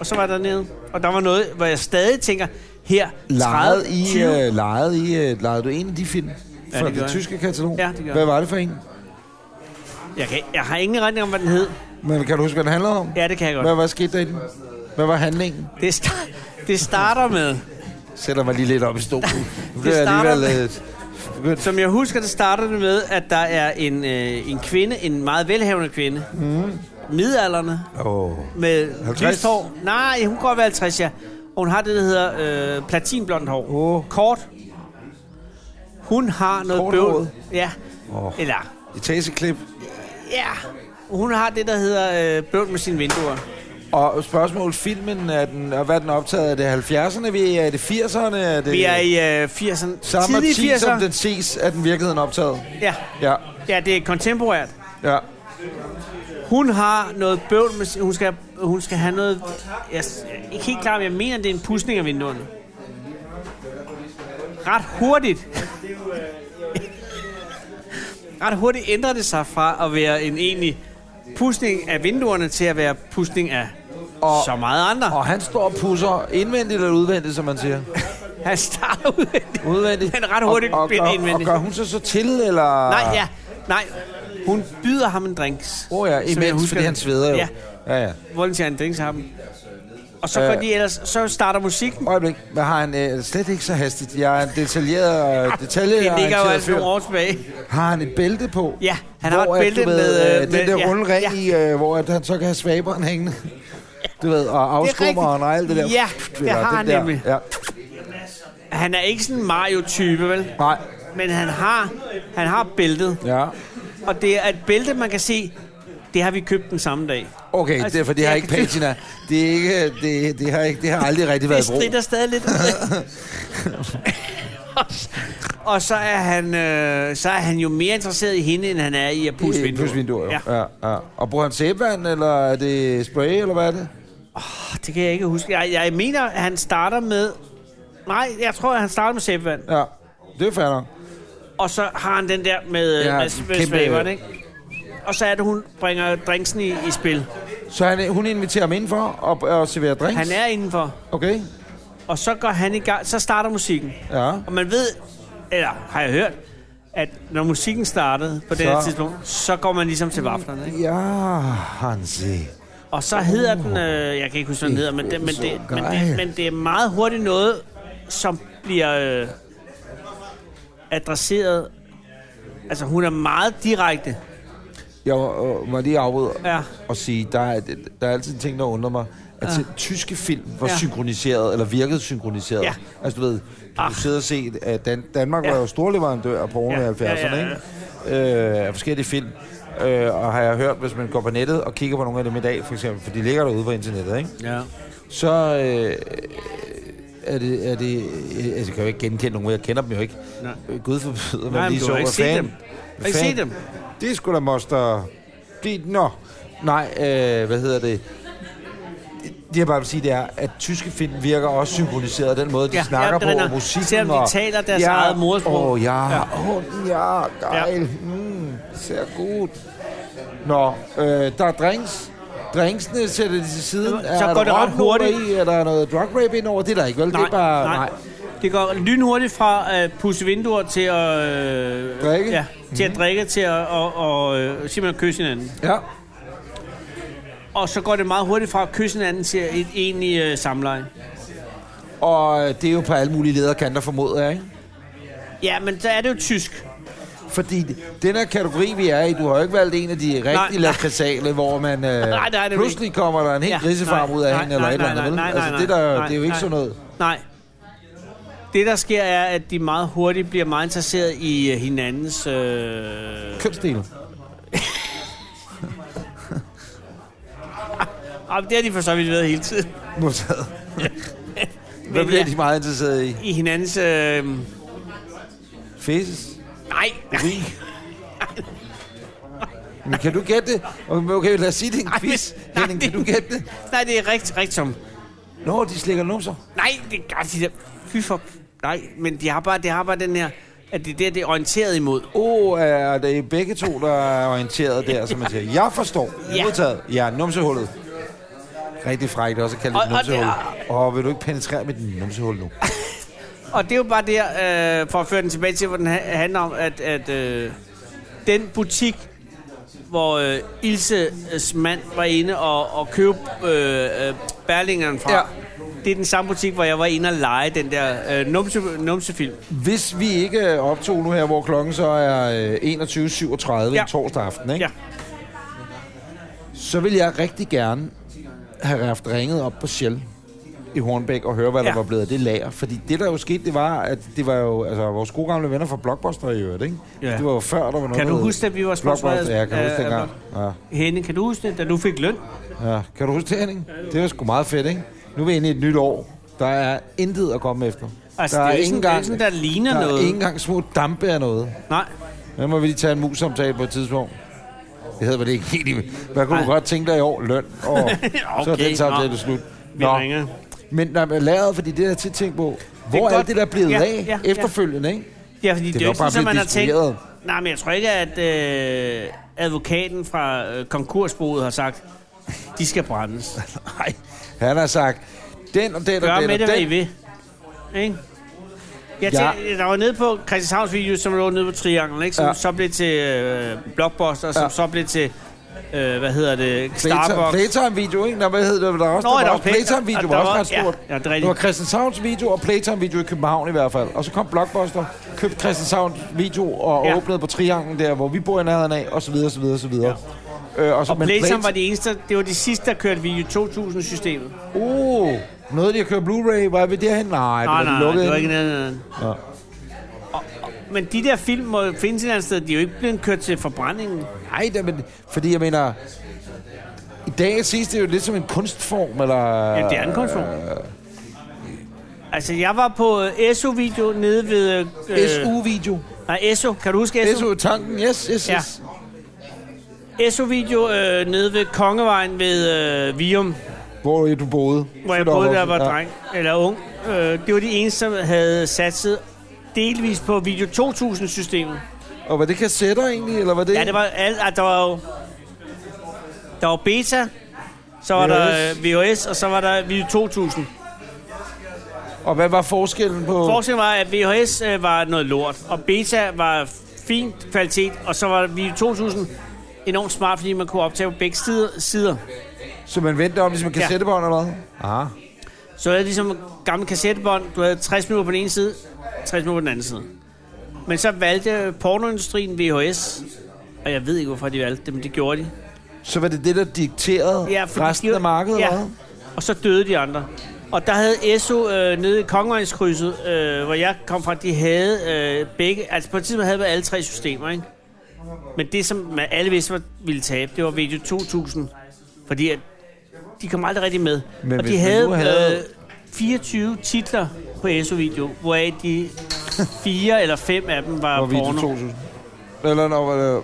Speaker 2: Og så var der nede. Og der var noget, hvor jeg stadig tænker, her, 30,
Speaker 1: Lejede i,
Speaker 2: 20,
Speaker 1: øh, lejede, i, øh, lejede du en af de film
Speaker 2: Ja,
Speaker 1: ja, fra
Speaker 2: det
Speaker 1: det,
Speaker 2: gjorde jeg.
Speaker 1: tyske katalog?
Speaker 2: Ja, det gjorde
Speaker 1: Hvad
Speaker 2: jeg.
Speaker 1: var det for en?
Speaker 2: jeg, kan, jeg har ingen retning om, hvad den hed.
Speaker 1: Men kan du huske, hvad den handlede om?
Speaker 2: Ja, det kan jeg godt.
Speaker 1: Hvad, hvad skete der i den? Hvad var handlingen?
Speaker 2: Det, sta- det starter med,
Speaker 1: Sætter mig lige lidt op i
Speaker 2: *laughs*
Speaker 1: stolen. Nu bliver jeg
Speaker 2: starter
Speaker 1: alligevel...
Speaker 2: med-
Speaker 1: øh, begyndt.
Speaker 2: som jeg husker, det starter det med, at der er en, øh, en kvinde, en meget velhavende kvinde, mm. midalderne,
Speaker 1: øh, Åh.
Speaker 2: med
Speaker 1: 50?
Speaker 2: lyst hår. Nej, hun kan godt være 50, ja. Og hun har det, der hedder øh, platinblondt hår.
Speaker 1: Åh.
Speaker 2: Kort. Hun har noget bøvl.
Speaker 1: Korthåret?
Speaker 2: Ja.
Speaker 1: Åh.
Speaker 2: Eller,
Speaker 1: Et taseklip.
Speaker 2: ja. Hun har det, der hedder øh, bøvl med sine vinduer.
Speaker 1: Og spørgsmål, filmen, er den, og hvad er den optaget? Er det 70'erne, vi er? er det 80'erne? Er det
Speaker 2: Vi er i øh, 80'erne.
Speaker 1: samme
Speaker 2: Tidlige
Speaker 1: tid, som
Speaker 2: 80'er.
Speaker 1: den ses, er den virkeligheden optaget?
Speaker 2: Ja.
Speaker 1: Ja,
Speaker 2: ja, det er kontemporært.
Speaker 1: ja.
Speaker 2: Hun har noget bøvl med... sin- Hun skal, hun skal have noget... Jeg er ikke helt klar, men jeg mener, det er en pudsning af vinduerne. Ret hurtigt. *laughs* Ret hurtigt ændrer det sig fra at være en egentlig pudsning af vinduerne til at være pudsning af og,
Speaker 1: Og-
Speaker 2: så meget andre. Og,
Speaker 1: Og han står og pusser indvendigt eller udvendigt, som man
Speaker 2: *laughs*
Speaker 1: siger.
Speaker 2: Han starter udvendigt.
Speaker 1: Udvendigt.
Speaker 2: Men ret hurtigt
Speaker 1: og, og,
Speaker 2: bliver det
Speaker 1: og, og,
Speaker 2: indvendigt.
Speaker 1: gør hun så så til, eller?
Speaker 2: Nej, ja. Nej, hun byder ham en drinks.
Speaker 1: Åh oh, ja,
Speaker 2: som jeg
Speaker 1: imens,
Speaker 2: husker
Speaker 1: fordi
Speaker 2: det.
Speaker 1: han sveder jo.
Speaker 2: Ja,
Speaker 1: ja. ja.
Speaker 2: volunteer en drinks ham. Og så, går
Speaker 1: Øh.
Speaker 2: de ellers, så starter musikken.
Speaker 1: Øjeblik, hvad har han øh, slet ikke så hastigt? Jeg er en detaljeret, øh,
Speaker 2: *laughs* Det ligger jo
Speaker 1: detaljeorienteret
Speaker 2: altså nogle
Speaker 1: fyr.
Speaker 2: år tilbage.
Speaker 1: Har han et bælte på?
Speaker 2: Ja, han har
Speaker 1: Hvor
Speaker 2: et
Speaker 1: at,
Speaker 2: bælte
Speaker 1: du
Speaker 2: med, øh,
Speaker 1: øh,
Speaker 2: med-
Speaker 1: den der
Speaker 2: ja,
Speaker 1: runde ring
Speaker 2: ja.
Speaker 1: i, øh, hvor at han så kan have svaberen hængende. Du ved, og afskummeren og alt det der.
Speaker 2: Ja,
Speaker 1: Pff,
Speaker 2: det
Speaker 1: eller
Speaker 2: har
Speaker 1: den
Speaker 2: han
Speaker 1: der.
Speaker 2: nemlig.
Speaker 1: Ja.
Speaker 2: Han er ikke sådan en Mario-type, vel?
Speaker 1: Nej,
Speaker 2: Men han har, han har bæltet.
Speaker 1: ja.
Speaker 2: Og det er et bælte, man kan se, det har vi købt den samme dag.
Speaker 1: Okay,
Speaker 2: Altså,
Speaker 1: det er fordi, jeg har
Speaker 2: jeg
Speaker 1: ikke
Speaker 2: kan-
Speaker 1: patina. Det, er ikke, det, det, har ikke, det har aldrig rigtig
Speaker 2: Det
Speaker 1: været i brug.
Speaker 2: strider stadig lidt.
Speaker 1: *laughs*
Speaker 2: og så er, han, øh, så er han jo mere interesseret i hende, end han er i at pusse vinduer.
Speaker 1: Pusvinduer,
Speaker 2: Ja.
Speaker 1: ja. ja. ja. Og bruger han sæbevand, eller er det spray, eller hvad er det?
Speaker 2: Oh, det kan jeg ikke huske. Jeg, jeg mener, at han starter med... Nej, jeg tror, at han starter med sæbevand.
Speaker 1: Ja, det er fair nok.
Speaker 2: Og så har han den der med, ja,
Speaker 1: Ja,
Speaker 2: med, med
Speaker 1: kæmpe-
Speaker 2: svaberen, ikke? Og så er det, hun bringer drinksen i, i spil.
Speaker 1: Så han, hun inviterer ham indenfor og, og serverer drinks?
Speaker 2: Han er indenfor,
Speaker 1: Okay,
Speaker 2: og så går han i gang, så starter musikken.
Speaker 1: ja.
Speaker 2: Og man ved, eller har jeg hørt, at når musikken startede på det her
Speaker 1: Så-
Speaker 2: tidspunkt, så går man ligesom til vaflerne, ikke?
Speaker 1: Ja, Hansi.
Speaker 2: Og så hedder den, øh, jeg kan ikke huske, hvad den hedder, men det, men, det, men, det, men det er meget hurtigt noget, som bliver øh, adresseret. Altså, hun er meget direkte.
Speaker 1: Jeg må, øh, må lige afbryde
Speaker 2: Ja.
Speaker 1: og sige, der er, der er altid en ting, der undrer mig. At
Speaker 2: Ja.
Speaker 1: ja. tyske film var
Speaker 2: Ja.
Speaker 1: ja. synkroniseret, eller virkede synkroniseret.
Speaker 2: Ja.
Speaker 1: Altså du ved, du
Speaker 2: Ach.
Speaker 1: kunne sidde og se, at Dan- Danmark
Speaker 2: Ja.
Speaker 1: ja. var jo storleverandør af porno
Speaker 2: Ja.
Speaker 1: ja. i 70'erne,
Speaker 2: Ja, ja,
Speaker 1: ikke? Øh, af forskellige film. Øh, og har jeg hørt, hvis man går på nettet og kigger på nogle af dem i dag, for eksempel, for de ligger derude på internettet, ikke?
Speaker 2: Ja.
Speaker 1: så øh, er det, er det, øh, altså, jeg kan jo ikke genkende nogen, jeg kender dem jo ikke.
Speaker 2: Nej.
Speaker 1: Øh, Gud forbyder,
Speaker 2: Nej,
Speaker 1: man
Speaker 2: men
Speaker 1: lige
Speaker 2: du
Speaker 1: så,
Speaker 2: har
Speaker 1: hvad
Speaker 2: ikke set
Speaker 1: fanden-
Speaker 2: dem. Har I
Speaker 1: hvad
Speaker 2: set
Speaker 1: fanden-
Speaker 2: dem?
Speaker 1: Det er sgu da moster... Det, nå, nej, øh, hvad hedder det? Det jeg bare vil sige, det er, at tyske film virker også synkroniseret af den måde, de
Speaker 2: Ja,
Speaker 1: ja,
Speaker 2: ja,
Speaker 1: snakker
Speaker 2: det er
Speaker 1: på,
Speaker 2: nok.
Speaker 1: og musikken.
Speaker 2: Selvom de
Speaker 1: og-
Speaker 2: taler deres eget modersmål.
Speaker 1: Åh, oh, ja,
Speaker 2: Ja.
Speaker 1: ja. Oh, ja, geil.
Speaker 2: Ja.
Speaker 1: Ja. Mm, ser godt. Nå, øh, der er drinks. Drinksene sætter de til siden.
Speaker 2: Så
Speaker 1: er
Speaker 2: går
Speaker 1: der
Speaker 2: det ret
Speaker 1: rocknummer
Speaker 2: hurtigt.
Speaker 1: I? Er der noget drug rape indover? Det er der ikke, vel? det
Speaker 2: Nej,
Speaker 1: er bare,
Speaker 2: nej. Det går lynhurtigt fra at pusse vinduer til at... Øh,
Speaker 1: Drikke? Mhm.
Speaker 2: Ja, til at drikke, til at og, og, øh, simpelthen kysse hinanden.
Speaker 1: Ja,
Speaker 2: Og så går det meget hurtigt fra at kysse hinanden til et egentligt øh, samleje.
Speaker 1: og øh, det er jo på alle mulige lederkanter, formoder jeg, ikke?
Speaker 2: Ja, men så er det jo tysk.
Speaker 1: Fordi den her kategori, vi er i, du har jo ikke valgt en af de
Speaker 2: nej.
Speaker 1: rigtig lakridsale, hvor man øh,
Speaker 2: *laughs* nej, det er det
Speaker 1: pludselig kommer der en helt
Speaker 2: Ja,
Speaker 1: ja, grisefarm
Speaker 2: nej,
Speaker 1: ud af
Speaker 2: nej,
Speaker 1: hende, eller
Speaker 2: nej,
Speaker 1: et eller
Speaker 2: nej,
Speaker 1: andet, vel?
Speaker 2: nej, nej,
Speaker 1: Altså, det,
Speaker 2: nej,
Speaker 1: der,
Speaker 2: nej,
Speaker 1: det er jo ikke
Speaker 2: nej.
Speaker 1: sådan noget.
Speaker 2: Nej. Det, der sker, er, at de meget hurtigt bliver meget interesseret i øh, hinandens... Øh...
Speaker 1: Kønsdel.
Speaker 2: Ah, det har de for så vidt været hele tiden.
Speaker 1: Modtaget. Hvad
Speaker 2: Men
Speaker 1: bliver
Speaker 2: ja,
Speaker 1: de meget interesseret i?
Speaker 2: I hinandens... Øh...
Speaker 1: Fæses?
Speaker 2: Nej,
Speaker 1: *laughs* Urin? Men kan du gætte det? Okay, okay, lad os sige, det er en
Speaker 2: Nej,
Speaker 1: quiz.
Speaker 2: men- nej,
Speaker 1: Henning, kan
Speaker 2: det-
Speaker 1: du gætte det?
Speaker 2: nej, det er rigtig, rigtig som...
Speaker 1: Nå, de slikker numser.
Speaker 2: Nej, det gør de der. Fy for... Nej, men de har bare, de har bare den her, at det er der, det er orienteret imod.
Speaker 1: Åh, oh, er det begge to, der er orienteret der, som man siger. Jeg forstår.
Speaker 2: Ja.
Speaker 1: Ja. Modtaget. Ja, numsehullet. Rigtig frækt også at kalde det
Speaker 2: Og- og det
Speaker 1: numsehul. Åh, vil du ikke penetrere mit numsehul nu?
Speaker 2: Og det er jo bare der, øh, for at føre den tilbage til, hvor den ha- handler om, at, at øh, den butik, hvor øh, Ilses mand var inde og, og købe øh, øh, Berlingeren fra, ja.
Speaker 1: Ja.
Speaker 2: det er den samme butik, hvor jeg var inde og lege den der øh, numse, numsefilm.
Speaker 1: Hvis vi ikke øh, optog nu her, hvor klokken så er øh, 21.37 ja.
Speaker 2: Ja.
Speaker 1: en torsdag aften, ikke?
Speaker 2: Ja.
Speaker 1: Ja. så vil jeg rigtig gerne have haft ringet op på Shell i Hornbæk og høre, hvad der
Speaker 2: Ja.
Speaker 1: var blevet af det lager. Fordi det, der jo skete, det var, at det var jo altså, vores gode gamle venner fra Blockbuster i øvrigt, ikke?
Speaker 2: Ja.
Speaker 1: Det var jo før, der var noget...
Speaker 2: Kan du
Speaker 1: der hed
Speaker 2: huske, at vi var sponsoreret?
Speaker 1: Blockbuster, ja, kan du
Speaker 2: af-
Speaker 1: huske
Speaker 2: af
Speaker 1: dengang? Ja.
Speaker 2: Henning, kan du huske det, da du fik løn?
Speaker 1: Ja, kan du huske det, Henning? Det var sgu meget fedt, ikke? Nu er vi inde i et nyt år. Der er intet at komme efter.
Speaker 2: Altså,
Speaker 1: der
Speaker 2: det er ikke sådan- det er ikke sådan, der ligner
Speaker 1: der er
Speaker 2: noget.
Speaker 1: ikke engang små dampe af noget.
Speaker 2: Nej.
Speaker 1: Hvad må vi lige tage en mus-samtale på et tidspunkt? Det hedder vel ikke helt i... Hvad kunne du
Speaker 2: Nej.
Speaker 1: godt tænke dig i år? Løn.
Speaker 2: *laughs*
Speaker 1: Og så er
Speaker 2: Okay,
Speaker 1: den samtale
Speaker 2: nå.
Speaker 1: slut.
Speaker 2: Vi
Speaker 1: Nå.
Speaker 2: ringer.
Speaker 1: Men når man lærer, fordi det der tit tænkt på, hvor er,
Speaker 2: godt-
Speaker 1: alt det der blevet
Speaker 2: Ja,
Speaker 1: af
Speaker 2: ja, ja.
Speaker 1: efterfølgende, ikke? *laughs*
Speaker 2: Ja, fordi det, det
Speaker 1: var
Speaker 2: er jo ikke
Speaker 1: bare
Speaker 2: sådan, at man har
Speaker 1: blevet
Speaker 2: tænkt...
Speaker 1: distribueret.
Speaker 2: Nej, men jeg tror ikke, at øh, advokaten fra øh, konkursboet har sagt, de skal
Speaker 1: *laughs*
Speaker 2: brændes.
Speaker 1: Nej, han har sagt, den og den og
Speaker 2: Gør
Speaker 1: den
Speaker 2: med
Speaker 1: og
Speaker 2: det, hvad I
Speaker 1: den.
Speaker 2: vil. Ikke? Jeg
Speaker 1: Ja.
Speaker 2: tænkte, der var nede på Christianshavns video, som lå nede på Triangle, ikke? som ja.
Speaker 1: Ja.
Speaker 2: så blev til øh, Blockbuster, som ja.
Speaker 1: Ja.
Speaker 2: så blev til, øh, hvad hedder det,
Speaker 1: Playtime-
Speaker 2: Starbucks.
Speaker 1: Playtime-video, ikke? Nå, hvad hedder det? Der var også,
Speaker 2: Nå,
Speaker 1: der
Speaker 2: der
Speaker 1: var
Speaker 2: var
Speaker 1: også
Speaker 2: Play-
Speaker 1: Playtime-video,
Speaker 2: der
Speaker 1: var også
Speaker 2: var-
Speaker 1: ret stort.
Speaker 2: ja, ja, det er rigtigt.
Speaker 1: det var Christianshavns video og Playtime-video i København i hvert fald. Og så kom Blockbuster, købte Christianshavns video og
Speaker 2: Ja.
Speaker 1: åbnede på Triangen der, hvor vi bor i nærheden af, og så videre, så videre, så videre. Øh, så,
Speaker 2: Og
Speaker 1: men
Speaker 2: Playtime
Speaker 1: Playtime-
Speaker 2: var de eneste, det var de sidste, der kørte video 2000-systemet.
Speaker 1: Uh, nåede de at køre Blu-ray? Var vi derhen? Nej,
Speaker 2: Nej,
Speaker 1: det var
Speaker 2: nej,
Speaker 1: de
Speaker 2: nej,
Speaker 1: lukket.
Speaker 2: det var
Speaker 1: inde.
Speaker 2: ikke noget. Ja.
Speaker 1: Ja.
Speaker 2: Og, og, men de der film må jo findes et eller andet sted. De er jo ikke blevet kørt til forbrændingen.
Speaker 1: Nej, da, men, fordi jeg mener... I dag ses det jo lidt som en kunstform, eller...
Speaker 2: Ja, det er en konform.
Speaker 1: Øh.
Speaker 2: Altså, jeg var på SO-video nede ved... Øh,
Speaker 1: SU-video.
Speaker 2: Nej, SO. Kan du huske SO?
Speaker 1: SU-tanken, yes, yes,
Speaker 2: Ja.
Speaker 1: yes.
Speaker 2: SO-video øh, nede ved Kongevejen ved øh, Vium,
Speaker 1: Hvor er du boede?
Speaker 2: hvor jeg
Speaker 1: Fedt
Speaker 2: boede, da jeg var
Speaker 1: opvokset. Ja.
Speaker 2: dreng eller ung. Øh, det var de eneste, som havde satset delvis på Video 2000-systemet.
Speaker 1: Og var det kassetter egentlig, eller var det...
Speaker 2: Ja, det var alt. ah, Der var jo, der var beta, så var
Speaker 1: VHS.
Speaker 2: der øh, VHS, og så var der Video 2000.
Speaker 1: Og hvad var forskellen på...
Speaker 2: Forskellen var, at VHS øh, var noget lort, og beta var fin kvalitet, og så var Video 2000 enormt smart, fordi man kunne optage på begge sider- sider.
Speaker 1: Så man vendte om, ligesom en
Speaker 2: Ja.
Speaker 1: kassettebånd eller hvad? Ah.
Speaker 2: Så havde ligesom gamle kassettebånd, du havde 60 minutter på den ene side, 60 minutter på den anden side. Men så valgte pornoindustrien VHS, og jeg ved ikke, hvorfor de valgte det, men det gjorde de.
Speaker 1: Så var det det, der dikterede ja,
Speaker 2: fordi
Speaker 1: resten
Speaker 2: de-
Speaker 1: af markedet, eller hvad?
Speaker 2: Og så døde de andre. Og der havde SO øh, nede i Kongevejskrydset, øh, hvor jeg kom fra, de havde øh, begge... Altså på et tidspunkt havde vi alle tre systemer, ikke? Men det, som man alle vidste, var, ville tabe, det var Video 2000. Fordi at de kom aldrig rigtig med.
Speaker 1: Men
Speaker 2: og
Speaker 1: hvis
Speaker 2: de
Speaker 1: man
Speaker 2: havde,
Speaker 1: nu havde-
Speaker 2: Øh, 24 titler på SO-video, hvoraf de fire eller fem af dem var
Speaker 1: Når vi
Speaker 2: porno.
Speaker 1: til 2000. Eller når var det...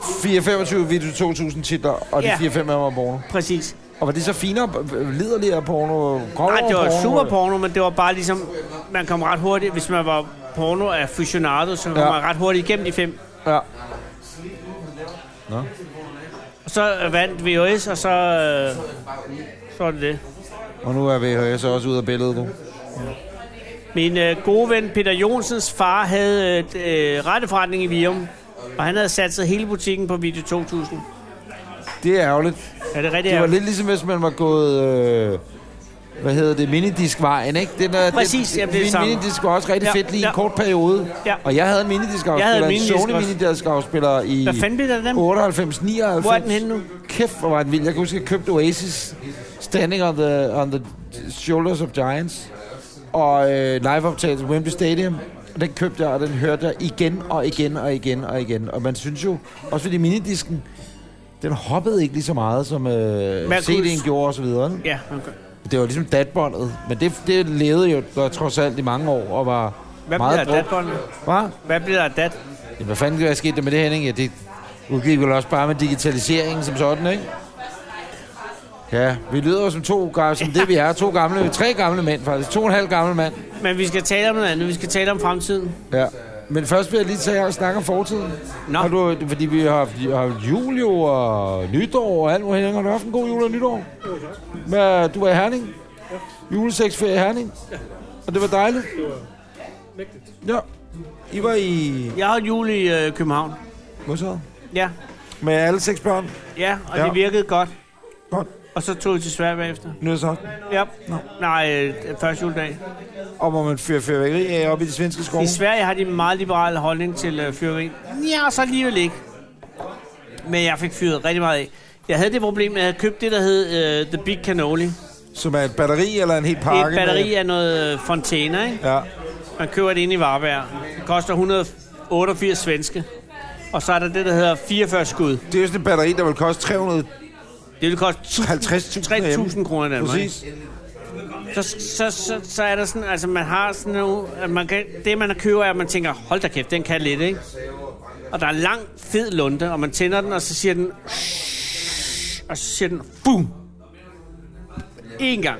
Speaker 1: 4-25 video 2000 titler, og de
Speaker 2: Ja.
Speaker 1: 4-5 af dem var porno.
Speaker 2: Præcis.
Speaker 1: Og var det så finere, øh, liderligere porno?
Speaker 2: Nej, det var
Speaker 1: grovere
Speaker 2: super porno, men det var bare ligesom, man kom ret hurtigt, hvis man var porno aficionado, så kom ja.
Speaker 1: Ja.
Speaker 2: man ret hurtigt igennem de fem.
Speaker 1: Ja.
Speaker 2: Og så øh, vandt VHS, og så, øh, så var det det.
Speaker 1: Og nu er VHS også ud af billedet, du.
Speaker 2: Min øh, gode ven Peter Jonsens far havde et øh, retteforretning i Virum, og han havde sat sig hele butikken på Video 2000.
Speaker 1: Det er ærgerligt.
Speaker 2: Ja, det er rigtigt.
Speaker 1: Det var
Speaker 2: ærgerligt.
Speaker 1: lidt ligesom, hvis man var gået... Øh, hvad hedder det? Minidiskvejen, ikke? Den er,
Speaker 2: Præcis,
Speaker 1: den,
Speaker 2: jamen, det er det
Speaker 1: min
Speaker 2: samme.
Speaker 1: minidisk var også rigtig
Speaker 2: Ja,
Speaker 1: ja, fedt lige ja.
Speaker 2: ja.
Speaker 1: en kort periode.
Speaker 2: Ja.
Speaker 1: Og jeg havde en minidiskafspiller,
Speaker 2: Jeg havde en
Speaker 1: en
Speaker 2: minidisk
Speaker 1: Sony
Speaker 2: også.
Speaker 1: minidiskafspiller i...
Speaker 2: Hvad fanden blev der af dem?
Speaker 1: 98, 99.
Speaker 2: Hvor er den henne nu?
Speaker 1: Kæft, hvor var den vild. Jeg kan huske, jeg købte Oasis Standing on the, on the Shoulders of Giants. Og øh, liveoptagelse på Wembley Stadium. Og den købte jeg, og den hørte jeg igen og igen og igen og igen. Og man synes jo, også fordi minidisken, den hoppede ikke lige så meget, som øh,
Speaker 2: Man kunne-
Speaker 1: CD'en gjorde osv. Ja.
Speaker 2: Ja, okay.
Speaker 1: Det var ligesom datbåndet. Men det, det levede jo der, trods alt i mange år, og var
Speaker 2: Hvad blev der
Speaker 1: meget
Speaker 2: af datbånd?
Speaker 1: Hvad?
Speaker 2: Hvad blev der af dat?
Speaker 1: Ja, hvad fanden der er sket der med det, Henning? Ja, det udgik vel også bare med digitaliseringen som sådan, ikke? Ja, vi lyder jo som to gamle, som det vi er. To gamle, tre gamle mænd faktisk. To og en halv gammel mand.
Speaker 2: Men vi skal tale om noget andet. Vi skal tale om fremtiden.
Speaker 1: Ja. Men først vil jeg lige tage her og snakke om fortiden.
Speaker 2: Nå.
Speaker 1: Har du, fordi vi har, haft- har haft jul jo og nytår og alt muligt. Har du haft en god jul og nytår? Men du var i Herning? Juleseksferie i Herning? Og det var dejligt? Ja. I var i...
Speaker 2: Jeg har jul i øh, København.
Speaker 1: Modtaget.
Speaker 2: Ja.
Speaker 1: Med alle seks børn.
Speaker 2: Ja, og
Speaker 1: Ja.
Speaker 2: ja. det virkede godt.
Speaker 1: Godt.
Speaker 2: Og så tog vi til Sverige bagefter.
Speaker 1: Nytårsaften.
Speaker 2: Ja. Nå. Nej, øh, første juledag.
Speaker 1: Og hvor man fyrer fyrværkeri af op i de svenske skove.
Speaker 2: I Sverige har de en meget liberal holdning til øh, fyrværkeri. Ja, så alligevel ikke. Men jeg fik fyret rigtig meget af. Jeg havde det problem, at jeg havde købt det, der hed øh, The Big Cannoli. Det
Speaker 1: Som er et batteri eller en helt
Speaker 2: er
Speaker 1: pakke?
Speaker 2: et batteri af noget øh, fontæner, ikke?
Speaker 1: Med, ja.
Speaker 2: Man køber det inde i Varberg. Det koster 188 svenske. Og så er der det, der hedder 44 skud.
Speaker 1: Det er jo sådan et batteri, der vil koste 350.000
Speaker 2: Det vil koste 1000
Speaker 1: herhjemme.
Speaker 2: 3.000 kroner i Danmark. ikke?
Speaker 1: Præcis.
Speaker 2: Så, så, så, så er der sådan, altså man har sådan nogle, at man kan, det man køber er, at man tænker, hold da kæft, den kan lidt, ikke? Og der er en lang, fed lunte, og man tænder den, og så siger den, og så siger den, boom! En gang.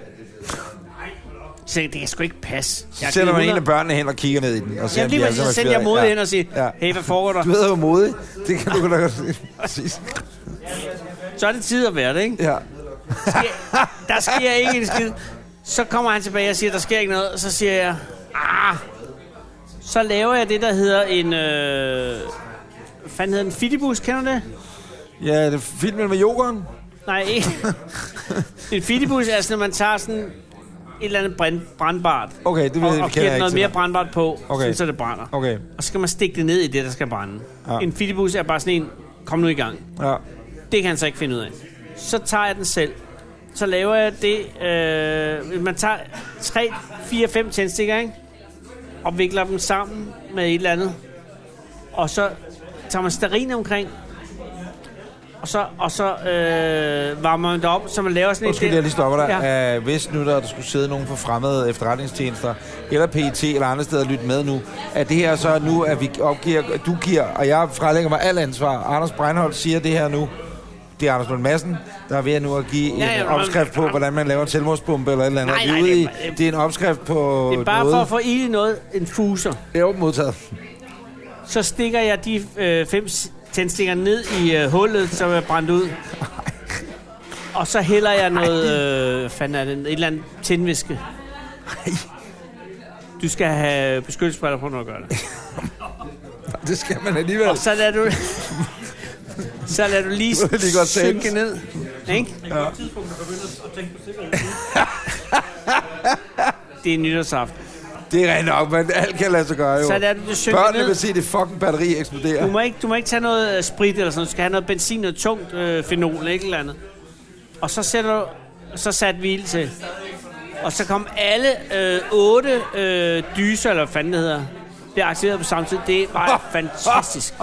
Speaker 2: Så tænker jeg, det kan sgu ikke passe.
Speaker 1: Så sætter man en af
Speaker 2: af
Speaker 1: børnene hen og kigger ned i den. Og ser,
Speaker 2: Jamen
Speaker 1: om
Speaker 2: lige
Speaker 1: de
Speaker 2: præcis,
Speaker 1: altså
Speaker 2: så
Speaker 1: er
Speaker 2: sendte jeg
Speaker 1: inspireret.
Speaker 2: mod
Speaker 1: Ja.
Speaker 2: hen og siger,
Speaker 1: Ja.
Speaker 2: hey, hvad foregår der?
Speaker 1: Du hedder jo modig. Det kan du godt godt se. Præcis.
Speaker 2: Så er det tid at være det, ikke?
Speaker 1: Ja.
Speaker 2: sker, der sker ikke en skid. Så kommer han tilbage og siger, der sker ikke noget. Og så siger jeg, ah. Så laver jeg det, der hedder en... Øh, hvad fanden hedder den? Fittibus, kender du det?
Speaker 1: Ja, det er filmen med yoghurt.
Speaker 2: Nej,
Speaker 1: *laughs*
Speaker 2: ikke. en fittibus er sådan, at man tager sådan et eller andet brænd, brandbart.
Speaker 1: Okay, det ved
Speaker 2: og,
Speaker 1: jeg- kender
Speaker 2: og
Speaker 1: jeg
Speaker 2: kender
Speaker 1: ikke
Speaker 2: noget
Speaker 1: til.
Speaker 2: mere brandbart på,
Speaker 1: Okay.
Speaker 2: sådan, så det brænder.
Speaker 1: Okay.
Speaker 2: Og så skal man stikke det ned i det, der skal brænde.
Speaker 1: Ja.
Speaker 2: Ja. En fittibus er bare sådan en, kom nu i gang.
Speaker 1: Ja.
Speaker 2: Det kan han så ikke finde ud af. Så tager jeg den selv. Så laver jeg det... Øh, man tager 3, 4, 5 tændstikker, ikke? Og vikler dem sammen med et eller andet. Og så tager man stearin omkring. Og så, og så øh, varmer man det op, så man laver sådan
Speaker 1: Undskyld,
Speaker 2: et...
Speaker 1: jeg lige stopper dig.
Speaker 2: Ja.
Speaker 1: Ja. hvis nu der, der skulle sidde nogen fra fremmede efterretningstjenester, eller PET eller andre steder og lytte med nu, at det her så nu, at vi opgiver, at du giver, og jeg frelægger mig al ansvar. Anders Breinholt siger det her nu. Det er Anders Lund Madsen, der er ved nu at give en
Speaker 2: Ja, ja,
Speaker 1: ja,
Speaker 2: men-
Speaker 1: opskrift på, hvordan man laver en selvmordsbombe eller et eller andet.
Speaker 2: Nej,
Speaker 1: Vi er
Speaker 2: nej,
Speaker 1: ude
Speaker 2: det
Speaker 1: i,
Speaker 2: er-
Speaker 1: det er en opskrift på
Speaker 2: Det er bare
Speaker 1: noget.
Speaker 2: for at få ild i noget, en fuser.
Speaker 1: Det er åbent modtaget. *laughs*
Speaker 2: Så stikker jeg de øh, fem s- tændstikker ned i øh, hullet, som er brændt
Speaker 1: *laughs*
Speaker 2: ud. Og så hælder jeg noget, øh, hvad fanden er det, et eller andet tændvæske. Du skal have beskyttelsesbriller på, når du gør det.
Speaker 1: Det skal man alligevel.
Speaker 2: Og så lader
Speaker 1: *laughs*
Speaker 2: du, så lader du lige,
Speaker 1: Det er lige godt tænkt.
Speaker 2: synke ned. Ikke?
Speaker 3: Det er et godt tidspunkt at begynde at tænke på sikkerhed.
Speaker 2: Det er nytårsaften.
Speaker 1: Det er rent nok, men alt kan lade sig gøre jo.
Speaker 2: Så lader du det synke
Speaker 1: Børnene
Speaker 2: ned.
Speaker 1: vil se, det fucking batteri eksploderer.
Speaker 2: Du må ikke, du må ikke tage noget øh, sprit eller sådan noget. Du skal have noget benzin, noget tungt øh, fenol, ikke eller andet. Og så, sætter du, så satte vi ild til. Og så kom alle øh, otte øh, dyser, eller hvad fanden det hedder, det er aktiveret på samme tid. Det
Speaker 1: *laughs*
Speaker 2: var fantastisk.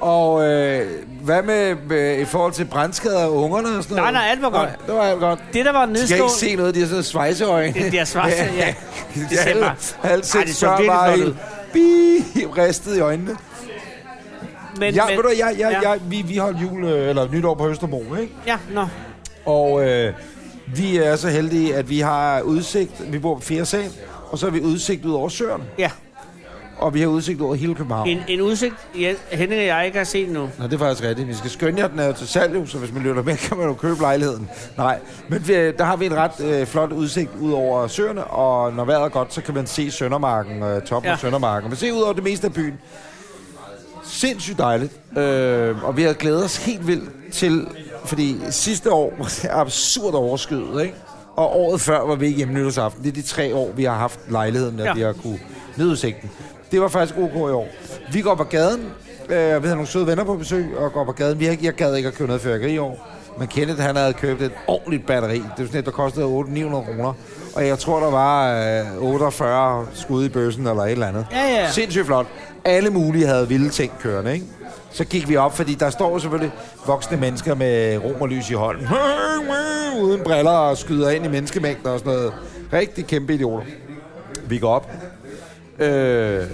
Speaker 1: Og øh, hvad med øh, i forhold til brændskader af ungerne og sådan
Speaker 2: Nej,
Speaker 1: noget?
Speaker 2: nej, alt var godt.
Speaker 1: Nej, det var alt godt.
Speaker 2: Det, der var
Speaker 1: Jeg kan ikke
Speaker 2: nedslående...
Speaker 1: se noget, de har sådan svejseøjne.
Speaker 2: Det- de har
Speaker 1: *laughs*
Speaker 2: svejse- ja.
Speaker 1: Det
Speaker 2: Det ser
Speaker 1: er
Speaker 2: bare-
Speaker 1: Halv
Speaker 2: Ej, det
Speaker 1: seks
Speaker 2: så
Speaker 1: før
Speaker 2: virkelig
Speaker 1: var
Speaker 2: flot
Speaker 1: helt bi- ristet i øjnene.
Speaker 2: Men,
Speaker 1: Ja, ved du, hvad, jeg, jeg,
Speaker 2: ja.
Speaker 1: jeg, vi, vi holdt jul, øh, eller nytår på Østerbro, ikke?
Speaker 2: Ja, nå.
Speaker 1: Og øh, vi er så heldige, at vi har udsigt. Vi bor på fjerde sal, og så har vi udsigt ud over søerne.
Speaker 2: Ja.
Speaker 1: Og vi har udsigt over hele København.
Speaker 2: En, en udsigt, ja, Henning og jeg ikke har set nu.
Speaker 1: Nå, det er faktisk rigtigt. Vi skal skønne jer, den er jo til salg, jo, så hvis man lytter med, *laughs* kan man jo købe lejligheden. Nej, men vi, der har vi en ret øh, flot udsigt ud over søerne, og når vejret er godt, så kan man se Søndermarken, øh, toppen ja.
Speaker 2: Ja.
Speaker 1: af Søndermarken. Man ser ud over det meste af byen. Sindssygt dejligt. Øh, og vi har glædet os helt vildt til, fordi sidste år *laughs* var det absurd overskyet, ikke? Og året før var vi ikke hjemme nytårsaften. Det er de tre år, vi har haft lejligheden, at ja.
Speaker 2: Ja.
Speaker 1: vi har kunne nedudsigten. Det var faktisk ok i år. Vi går på gaden. Øh, vi havde nogle søde venner på besøg og går på gaden. Vi har ikke, jeg gad ikke at købe noget fyrværkeri i år. Men Kenneth, han havde købt et ordentligt batteri. Det var sådan et, der kostede 800-900 kroner. Og jeg tror, der var øh, 48 skud i bøssen eller et eller andet.
Speaker 2: Ja, ja.
Speaker 1: Sindssygt flot. Alle mulige havde vilde ting kørende, ikke? Så gik vi op, fordi der står jo selvfølgelig voksne mennesker med romerlys i hånden. *laughs* Uden briller og skyder ind i menneskemængder og sådan noget. Rigtig kæmpe idioter. Vi går op. Øh,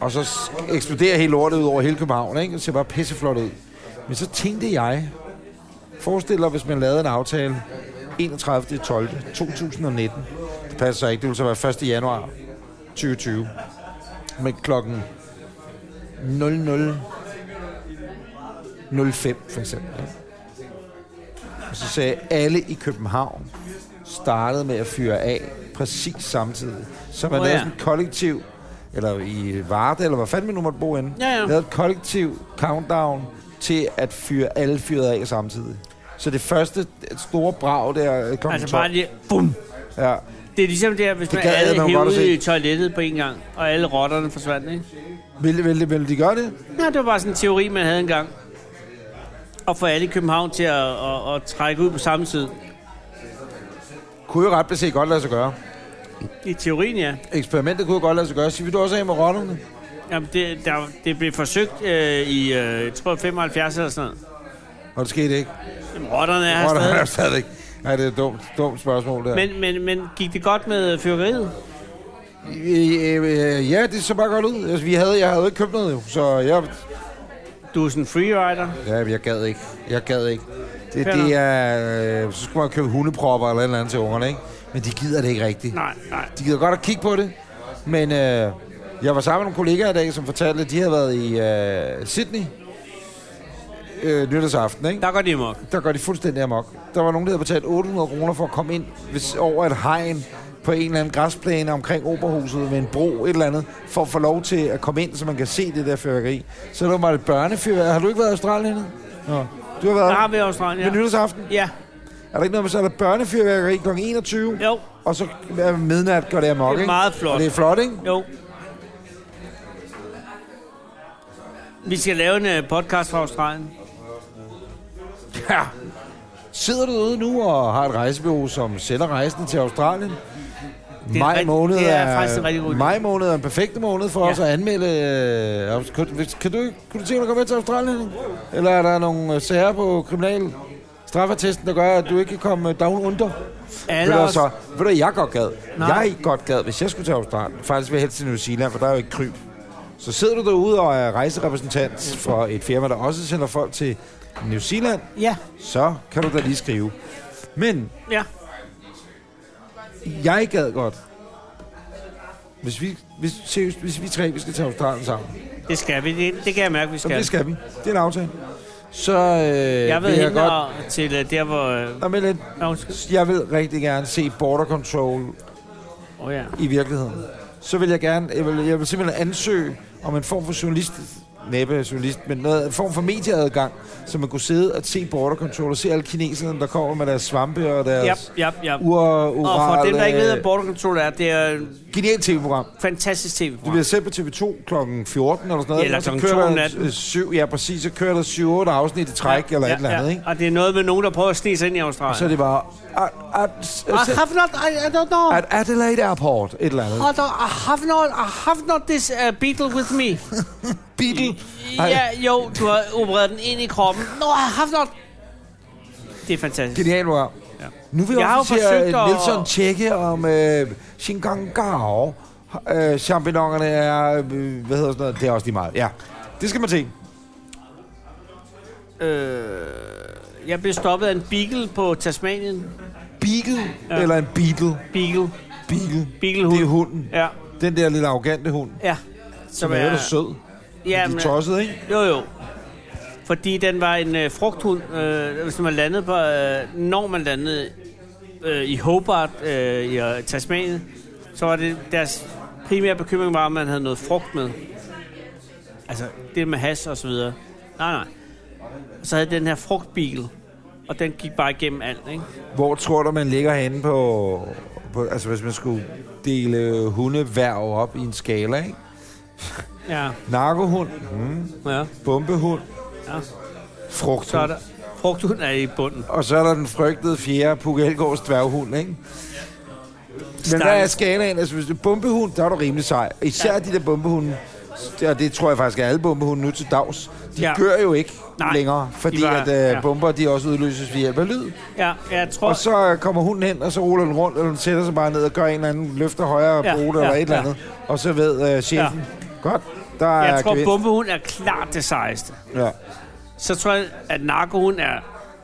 Speaker 1: og så s- eksploderer hele lortet ud over hele København, ikke? Det ser bare pisseflot ud. Men så tænkte jeg, Forestil dig, hvis man lavede en aftale 31. 12. 2019. Det passer ikke. Det ville så være 1. januar 2020. Med klokken 00 05 for eksempel. ikke? Og så sagde jeg, alle i København startede med at fyre af præcis samtidig. Så man
Speaker 2: Nå,
Speaker 1: oh, lavede
Speaker 2: ja.
Speaker 1: sådan et kollektiv, eller i Varde, eller hvor fanden nu måtte bo inde,
Speaker 2: Ja, ja.
Speaker 1: lavede et kollektiv countdown til at fyre alle fyrede af samtidig. Så det første store brag der øh, kom
Speaker 2: Altså bare lige, bum.
Speaker 1: Ja.
Speaker 2: Det er ligesom det her, hvis
Speaker 1: Det
Speaker 2: man
Speaker 1: gad jeg
Speaker 2: alle
Speaker 1: nok godt at
Speaker 2: hævede
Speaker 1: se.
Speaker 2: i toilettet på en gang, og alle rotterne forsvandt, ikke?
Speaker 1: Vil, vil, vil de gøre det?
Speaker 2: Nej, det var bare sådan en teori, man havde engang. Og få alle i København til at, at, at trække ud på samme tid.
Speaker 1: Kunne jo ret beset godt lade sig gøre.
Speaker 2: I teorien, ja.
Speaker 1: Eksperimentet kunne jo godt lade sig gøre. Sig, vil du også af med rotterne?
Speaker 2: Jamen, det, der, det blev forsøgt øh, i, øh, jeg tror, 75 eller sådan noget.
Speaker 1: Og det skete ikke.
Speaker 2: Jamen, rotterne er her
Speaker 1: Rotterne er
Speaker 2: stadig.
Speaker 1: *laughs* stadig. Nej, det er et dumt, dumt spørgsmål der.
Speaker 2: Men, men, men gik det godt med fyrværkeriet?
Speaker 1: Øh, øh, øh, ja, det så bare godt ud. Altså, vi havde, jeg havde ikke købt noget, jo, så jeg,
Speaker 2: Du er sådan en freerider.
Speaker 1: ja, jeg gad ikke. Jeg gad ikke. Det,
Speaker 2: Fair
Speaker 1: det
Speaker 2: nok.
Speaker 1: er, øh, så skulle man købe hundepropper eller et eller andet til ungerne, ikke? Men de gider det ikke rigtigt.
Speaker 2: Nej, nej.
Speaker 1: De gider godt at kigge på det, men øh, jeg var sammen med nogle kollegaer i dag, som fortalte, at de havde været i øh, Sydney øh, nytårsaften, ikke?
Speaker 2: Der går det imok.
Speaker 1: der gør de fuldstændig amok. Der var nogen, der havde betalt 800 kroner for at komme ind hvis, over et hegn på en eller anden græsplæne omkring Operhuset ved en bro, et eller andet, for at få lov til at komme ind, så man kan se det der fyrværkeri. Så der var et børnefyrværkeri. Har du ikke været i Australien endnu? Nå. Du har været
Speaker 2: Der har
Speaker 1: der
Speaker 2: vi Australien,
Speaker 1: ved
Speaker 2: ja.
Speaker 1: nytårsaften.
Speaker 2: Ja,
Speaker 1: Er der ikke noget med, så er der børnefyrværkeri kl. 21,
Speaker 2: jo,
Speaker 1: og så ved midnat gør det amok,
Speaker 2: Det er
Speaker 1: ikke?
Speaker 2: meget flot.
Speaker 1: Og det er flot, ikke?
Speaker 2: jo. Vi skal lave en øh, podcast fra Australien.
Speaker 1: Ja. Sidder du ude nu og har et rejsebureau, som sender rejsen til Australien?
Speaker 2: er
Speaker 1: Maj
Speaker 2: rigtig-
Speaker 1: måned
Speaker 2: det er faktisk en rigtig god idé.
Speaker 1: maj måned er en perfekt måned for
Speaker 2: Ja.
Speaker 1: os at anmelde. øh, Kan, kan, du, kan du tænke dig at komme med til Australien? Eller er der nogle øh, sager på kriminal straffertesten, der gør, at du ikke kan komme øh, down under? Ved
Speaker 2: Alle
Speaker 1: du, hvad
Speaker 2: os,
Speaker 1: så, ved du, hvad jeg godt gad?
Speaker 2: Nej.
Speaker 1: Jeg ikke godt gad, hvis jeg skulle til Australien. Faktisk vil jeg helst til New Zealand, for der er jo ikke kryb. Så sidder du derude og er rejserepræsentant for et firma, der også sender folk til New Zealand,
Speaker 2: ja,
Speaker 1: så kan du da lige skrive. Men
Speaker 2: ja.
Speaker 1: jeg gad godt, hvis vi, hvis, seriøst, hvis vi tre vi skal til Australien sammen,
Speaker 2: Det skal vi. Det, det kan jeg mærke, vi
Speaker 1: ja.
Speaker 2: skal.
Speaker 1: det skal vi. Det er en aftale. Så øh,
Speaker 2: Jeg ved
Speaker 1: vil jeg
Speaker 2: hende
Speaker 1: godt...
Speaker 2: og til øh, der, hvor... Øh,
Speaker 1: Nå, men, lidt.
Speaker 2: nå, undskyld.
Speaker 1: jeg vil rigtig gerne se Border Control
Speaker 2: Åh oh, ja.
Speaker 1: i virkeligheden. Så vil jeg gerne, jeg vil, jeg vil simpelthen ansøge om en form for journalist, næppe journalist, men noget, en form for medieadgang, så man kunne sidde og se Border Control og se alle kineserne, der kommer med deres svampe og
Speaker 2: Yep,
Speaker 1: deres
Speaker 2: yep, yep.
Speaker 1: ur
Speaker 2: Og for dem, der ikke ved, hvad border control er, det er et
Speaker 1: Genialt tv-program.
Speaker 2: fantastisk tv
Speaker 1: Det bliver sendt på TV2 kl. 14 eller sådan noget.
Speaker 2: Eller
Speaker 1: og så
Speaker 2: klokken
Speaker 1: kører
Speaker 2: to om
Speaker 1: der
Speaker 2: natten.
Speaker 1: øh, Syv, ja, præcis. Så kører der 7-8 afsnit i træk ja, eller ja, et eller andet, ja. ikke?
Speaker 2: Og det er noget med nogen, der prøver at snige sig ind i
Speaker 1: Og så
Speaker 2: Australien.
Speaker 1: er det bare... At, at,
Speaker 2: I
Speaker 1: at,
Speaker 2: have not, I, I don't know.
Speaker 1: at Adelaide Airport, et eller andet.
Speaker 2: I, don't, I have not, I have not this uh, beetle with
Speaker 1: *laughs*
Speaker 2: me.
Speaker 1: Beetle.
Speaker 2: Ja,
Speaker 1: Ej,
Speaker 2: jo, du har opereret den ind i kroppen. No, I have not. Det er fantastisk.
Speaker 1: genialt program.
Speaker 2: Ja.
Speaker 1: Nu vil jeg,
Speaker 2: Jeg har jo
Speaker 1: også se,
Speaker 2: forsøgt
Speaker 1: at
Speaker 2: at-
Speaker 1: Nielsen tjekke om øh, Shingangao. Øh, champignonerne er... Øh, hvad hedder sådan noget? Det er også lige meget. Ja. Det skal man se.
Speaker 2: Øh, jeg blev stoppet af en beagle på Tasmanien.
Speaker 1: Beagle ja.
Speaker 2: Ja.
Speaker 1: eller en beetle.
Speaker 2: Beagle.
Speaker 1: Beagle.
Speaker 2: Beaglehund.
Speaker 1: Det er hunden.
Speaker 2: Ja,
Speaker 1: Den der lille arrogante hund.
Speaker 2: ja.
Speaker 1: Som er jo sød.
Speaker 2: Ja,
Speaker 1: De er
Speaker 2: men-
Speaker 1: tosset, ikke?
Speaker 2: Jo, jo. Fordi den var en øh, frugthund, øh, hvis man landede på, øh, når man landede øh, i Hobart øh, i øh, Tasmanien, så var det deres primære bekymring var, om man havde noget frugt med. Altså det med has og så videre. Nej, nej. Så havde den her frugtbil, og den gik bare igennem alt, ikke?
Speaker 1: Hvor tror du, man ligger henne på, på... Altså, hvis man skulle dele hundeværv op i en skala, ikke?
Speaker 2: Ja,
Speaker 1: Narkohund, hmm,
Speaker 2: ja,
Speaker 1: bombehund,
Speaker 2: ja.
Speaker 1: frugthund.
Speaker 2: Så er der frugthund er i bunden.
Speaker 1: Og så er der den frygtede fjerde Puk Elgårds dværghund, ikke? Men hvad er skalaen? Altså, hvis det er bombehund, der er du rimelig sej. Især ja. de der bombehunde, og det tror jeg faktisk er alle bombehunde nu til dags, de ja.
Speaker 2: Ja.
Speaker 1: gør jo ikke Nej.
Speaker 2: Nej,
Speaker 1: længere, fordi
Speaker 2: de var-
Speaker 1: at øh,
Speaker 2: ja.
Speaker 1: bomber, de også udløses ved hjælp af lyd.
Speaker 2: Ja, jeg tror...
Speaker 1: Og så kommer hunden hen, og så ruller den rundt, og den sætter sig bare ned og gør en eller anden løfter højere ja,
Speaker 2: Ja,
Speaker 1: brute
Speaker 2: ja,
Speaker 1: eller et eller
Speaker 2: ja.
Speaker 1: andet. Og så ved øh, chefen, ja. godt, der er
Speaker 2: jeg tror,
Speaker 1: gevinst.
Speaker 2: bombehund er klart det sejeste.
Speaker 1: Ja.
Speaker 2: så tror jeg, at narkoen er